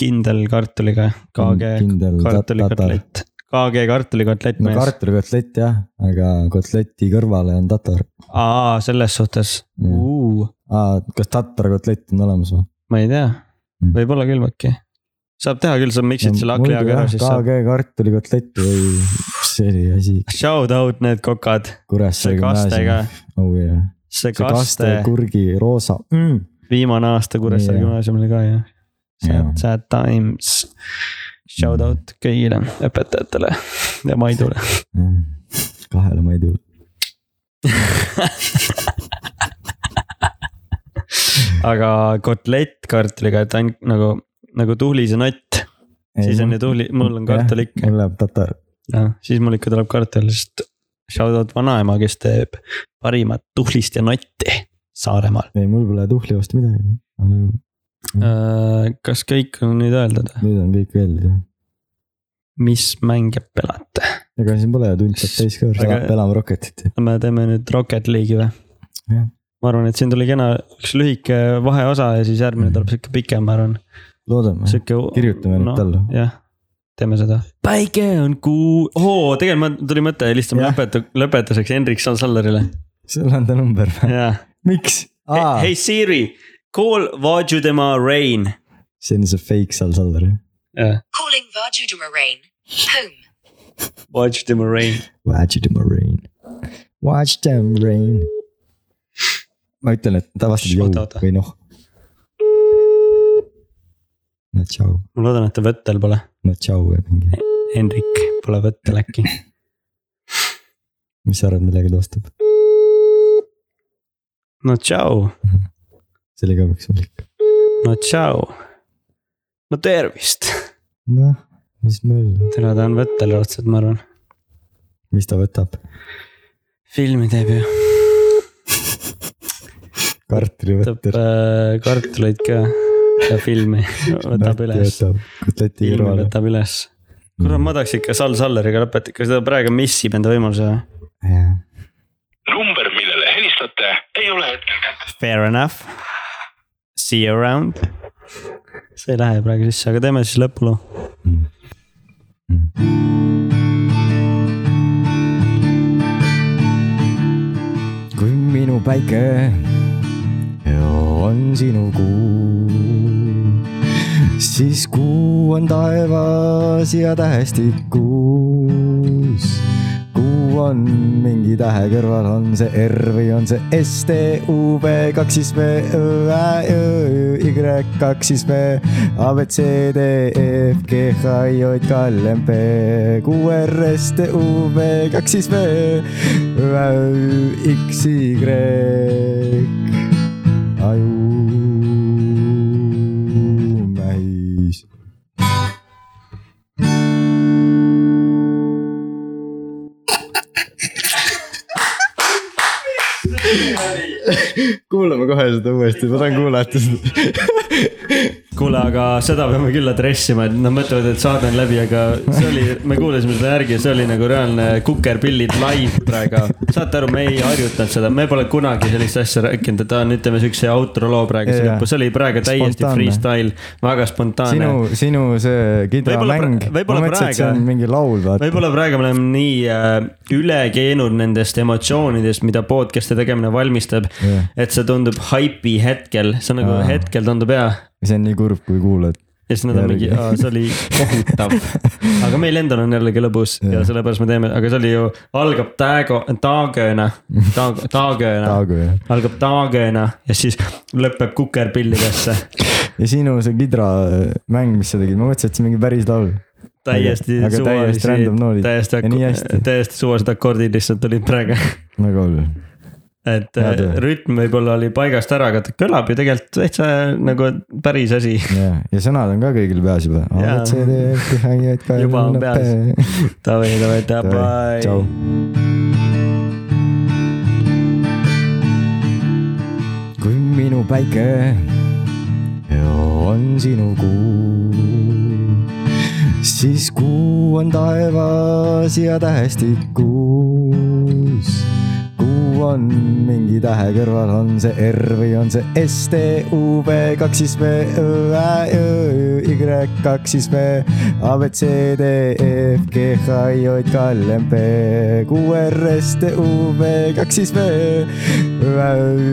[SPEAKER 2] kindel kartuliga , KG
[SPEAKER 1] kindel tatar .
[SPEAKER 2] kartulikotlett , KG kartulikotlett
[SPEAKER 1] no
[SPEAKER 2] mees ,
[SPEAKER 1] kartulikotlett jah , aga kotleti kõrvale on tatar .
[SPEAKER 2] aa selles suhtes ,
[SPEAKER 1] Jah. aa , kas tatarkotlett on olemas või ?
[SPEAKER 2] ma ei tea
[SPEAKER 1] Mm. ,
[SPEAKER 2] võib-olla küll äkki . saab teha küll , sa miksid selle hakklihaga ära , siis saab .
[SPEAKER 1] KG kartulikotlett või mis see oli asi ,
[SPEAKER 2] Shout out need kokad ,
[SPEAKER 1] Kuressaare
[SPEAKER 2] see kaste ka
[SPEAKER 1] gümnaasium .,
[SPEAKER 2] see,
[SPEAKER 1] oh jah ,
[SPEAKER 2] see
[SPEAKER 1] see kaste
[SPEAKER 2] kaste ,
[SPEAKER 1] kurgi roosa mm. .
[SPEAKER 2] viimane aasta Kuressaare
[SPEAKER 1] Jaa.
[SPEAKER 2] gümnaasiumil ka jah .
[SPEAKER 1] Jaa.
[SPEAKER 2] Sad , sad times . Shout out kõigile õpetajatele ja Maidule .
[SPEAKER 1] kahele ma ei tule .
[SPEAKER 2] aga kotlett kartuliga , et ainult nagu , nagu tuhlis ja nott , siis on ju tuhli , mul on kartul ikka ,
[SPEAKER 1] mul läheb tatar ,
[SPEAKER 2] siis mul ikka tuleb kartul , sest shout out vanaema , kes teeb parimat tuhlist ja notti Saaremaal .
[SPEAKER 1] ei mul pole tuhli vastu midagi . nüüd
[SPEAKER 2] Äh, kas kõik on nüüd öeldud ,
[SPEAKER 1] on kõik öeldud jah .
[SPEAKER 2] mis mänge pelate ?
[SPEAKER 1] ega siin pole ju tund saab täis ka ,
[SPEAKER 2] Aga-
[SPEAKER 1] elame Rocketit .
[SPEAKER 2] me teeme nüüd Rocket League'i või
[SPEAKER 1] Jah. ?
[SPEAKER 2] ma arvan , et siin tuli kena üks lühike vaheosa ja siis järgmine tuleb sihuke pikem , ma arvan ,
[SPEAKER 1] loodame ,
[SPEAKER 2] sihuke .
[SPEAKER 1] Mhm.
[SPEAKER 2] noh,
[SPEAKER 1] kirjutame nüüd talle.
[SPEAKER 2] jah , teeme seda . päike on kuu , oo , tegelikult ma tuli mõte , helistame
[SPEAKER 1] Jah.
[SPEAKER 2] lõpetu- , lõpetuseks Hendrik Sansallerile .
[SPEAKER 1] sul on ta number või ?
[SPEAKER 2] jaa .
[SPEAKER 1] miks ?
[SPEAKER 2] Hey Siri , call Vajudema Rain .
[SPEAKER 1] see on see fake seal Saller .
[SPEAKER 2] jah ,
[SPEAKER 3] Calling Vajudama Rain. Home.
[SPEAKER 2] Vajudema Rain .
[SPEAKER 1] Watch them rain . Watch them rain . ma ütlen , et ta vastab
[SPEAKER 2] Shh,
[SPEAKER 1] jõu
[SPEAKER 2] oota, oota.
[SPEAKER 1] või noh . no tšau ,
[SPEAKER 2] ma loodan , et ta võttel pole .
[SPEAKER 1] no tšau või mingi ,
[SPEAKER 2] Hendrik pole võttel äkki .
[SPEAKER 1] mis sa arvad , millega ta vastab ?
[SPEAKER 2] no tšau ,
[SPEAKER 1] see oli ka maksimalik .
[SPEAKER 2] no tšau . no tervist .
[SPEAKER 1] noh , mis möll ,
[SPEAKER 2] täna ta on võttel raudselt , ma arvan .
[SPEAKER 1] mis ta võtab ?
[SPEAKER 2] filmi teeb ju . võtab
[SPEAKER 1] kartulivõtter .
[SPEAKER 2] äh, kartuleid ka ja filmi võtab üles .
[SPEAKER 1] kotleti
[SPEAKER 2] filmi
[SPEAKER 1] kõrvale .
[SPEAKER 2] võtab üles . Mm. kurat , ma tahaks ikka Sal Salleriga lõpetada , kas ta praegu missib enda võimaluse või ?
[SPEAKER 1] jah ,
[SPEAKER 4] number , millele helistate , ei ole hetkel kätte .
[SPEAKER 2] Fair enough . See you around . see ei lähe praegu sisse , aga teeme siis lõpuloo .
[SPEAKER 1] kui minu päike on sinu kuu , siis kuu on taevas ja tähestikus . kuu on mingi tähe kõrval , on see R või on see S , T , U , V , kaks siis V , Ö , Ä , Ö , Ü , Y , kaks siis V , A , B , C , D , E , F , G , H , I , J , K , L , M , P , Q , R , S , T , U , V , kaks siis V , Ö , Ä , Ü , X , Y ajumäis . kuulame kohe seda uuesti , ma tahan kuulata seda .
[SPEAKER 2] kuule , aga seda peame küll adressima , et nad mõtlevad , et saade on läbi , aga see oli , me kuulasime seda järgi ja see oli nagu reaalne kukerpillid live praegu . saate aru , me ei harjutanud seda , me pole kunagi sellist asja rääkinud , et aa, nüüd teeme siukse outro loo praegu siia
[SPEAKER 1] Jaa.
[SPEAKER 2] lõppu , see oli praegu täiesti
[SPEAKER 1] Spontaanne.
[SPEAKER 2] freestyle , väga spontaanne .
[SPEAKER 1] sinu , sinu see kidramäng
[SPEAKER 2] Võib-olla pra- ,
[SPEAKER 1] ma
[SPEAKER 2] võib-olla
[SPEAKER 1] mõtlesin , et see on
[SPEAKER 2] praegu-
[SPEAKER 1] mingi laul , vaata .
[SPEAKER 2] võib-olla praegu me oleme nii äh, üle keenud nendest emotsioonidest , mida podcast'i tegemine valmistab
[SPEAKER 1] Jah.
[SPEAKER 2] et see tundub haipi hetkel , see on nagu
[SPEAKER 1] Aa.
[SPEAKER 2] hetkel tundub hea .
[SPEAKER 1] see on nii kurb , kui kuulad .
[SPEAKER 2] ja siis nad on mingi ,
[SPEAKER 1] Järgi.
[SPEAKER 2] see oli kohutav . aga meil endal on jällegi lõbus ja, ja
[SPEAKER 1] Jah.
[SPEAKER 2] sellepärast me teeme , aga see oli ju , algab taago , taagööna , taag- , taagööna .
[SPEAKER 1] Taagu, jah.
[SPEAKER 2] algab taagööna ja siis lõpeb kukerpillidesse .
[SPEAKER 1] ja sinu see kidramäng , mis sa tegid , ma mõtlesin , et see on mingi päris laul .
[SPEAKER 2] täiesti
[SPEAKER 1] aga täiesti random noodid
[SPEAKER 2] täiesti
[SPEAKER 1] ja nii hästi ,
[SPEAKER 2] täiesti suvalised akordid lihtsalt olid praegu
[SPEAKER 1] väga hull
[SPEAKER 2] et
[SPEAKER 1] Hea töö.
[SPEAKER 2] äh, rütm võib-olla oli paigast ära , aga ta kõlab ju tegelikult täitsa nagu päris asi .
[SPEAKER 1] ja , ja sõnad on ka kõigil peas juba .
[SPEAKER 2] Jaa. Juba on peas. davai , davai ,
[SPEAKER 1] tšau
[SPEAKER 2] davai ..
[SPEAKER 1] kui minu päike on sinu kuu , siis kuu on taevas ja tähestikus . kuu on mingi tähe kõrval , on see R või on see S , T , U , V , kaks siis V , Ö , Ä , Ö , Ü , Y , kaks siis V , A , B , C , D , E , F , G , H , I , J , K , L , M , P , Q , R , S , T , U , V , kaks siis V , Ö , Ä , Ö , Ü ,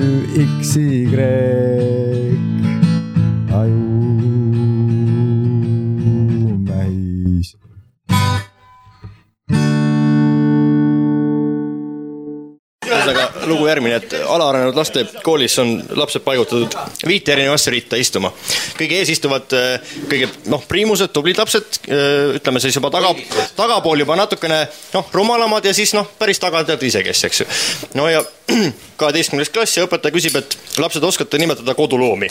[SPEAKER 1] X , Y ajumäis .
[SPEAKER 5] ühesõnaga lugu järgmine , et alaarenenud laste koolis on lapsed paigutatud viite erinevasse ritta istuma . kõige ees istuvad äh, kõige noh , priimused , tublid lapsed , ütleme siis juba taga , tagapool juba natukene noh , rumalamad ja siis noh , päris taga tead ise , kes , eks ju . no ja kaheteistkümnes klass ja õpetaja küsib , et lapsed , oskate nimetada koduloomi ?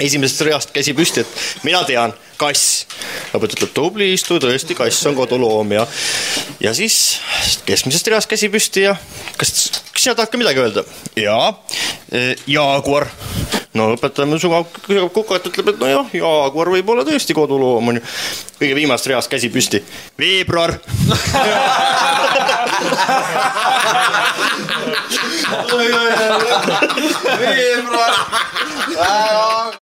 [SPEAKER 5] esimesest reast käsi püsti , et mina tean , kass . õpetaja ütleb , tubli istu , tõesti , kass on koduloom ja , ja siis keskmisest reast käsi püsti ja kas , kas sina tahad ka midagi öelda ? jaa , jaaguar . no õpetaja mul sügav , sügav kukalt ütleb , et nojah , jaaguar võib olla tõesti koduloom onju . kõige viimasest reast käsi püsti , veebruar . veebruar ,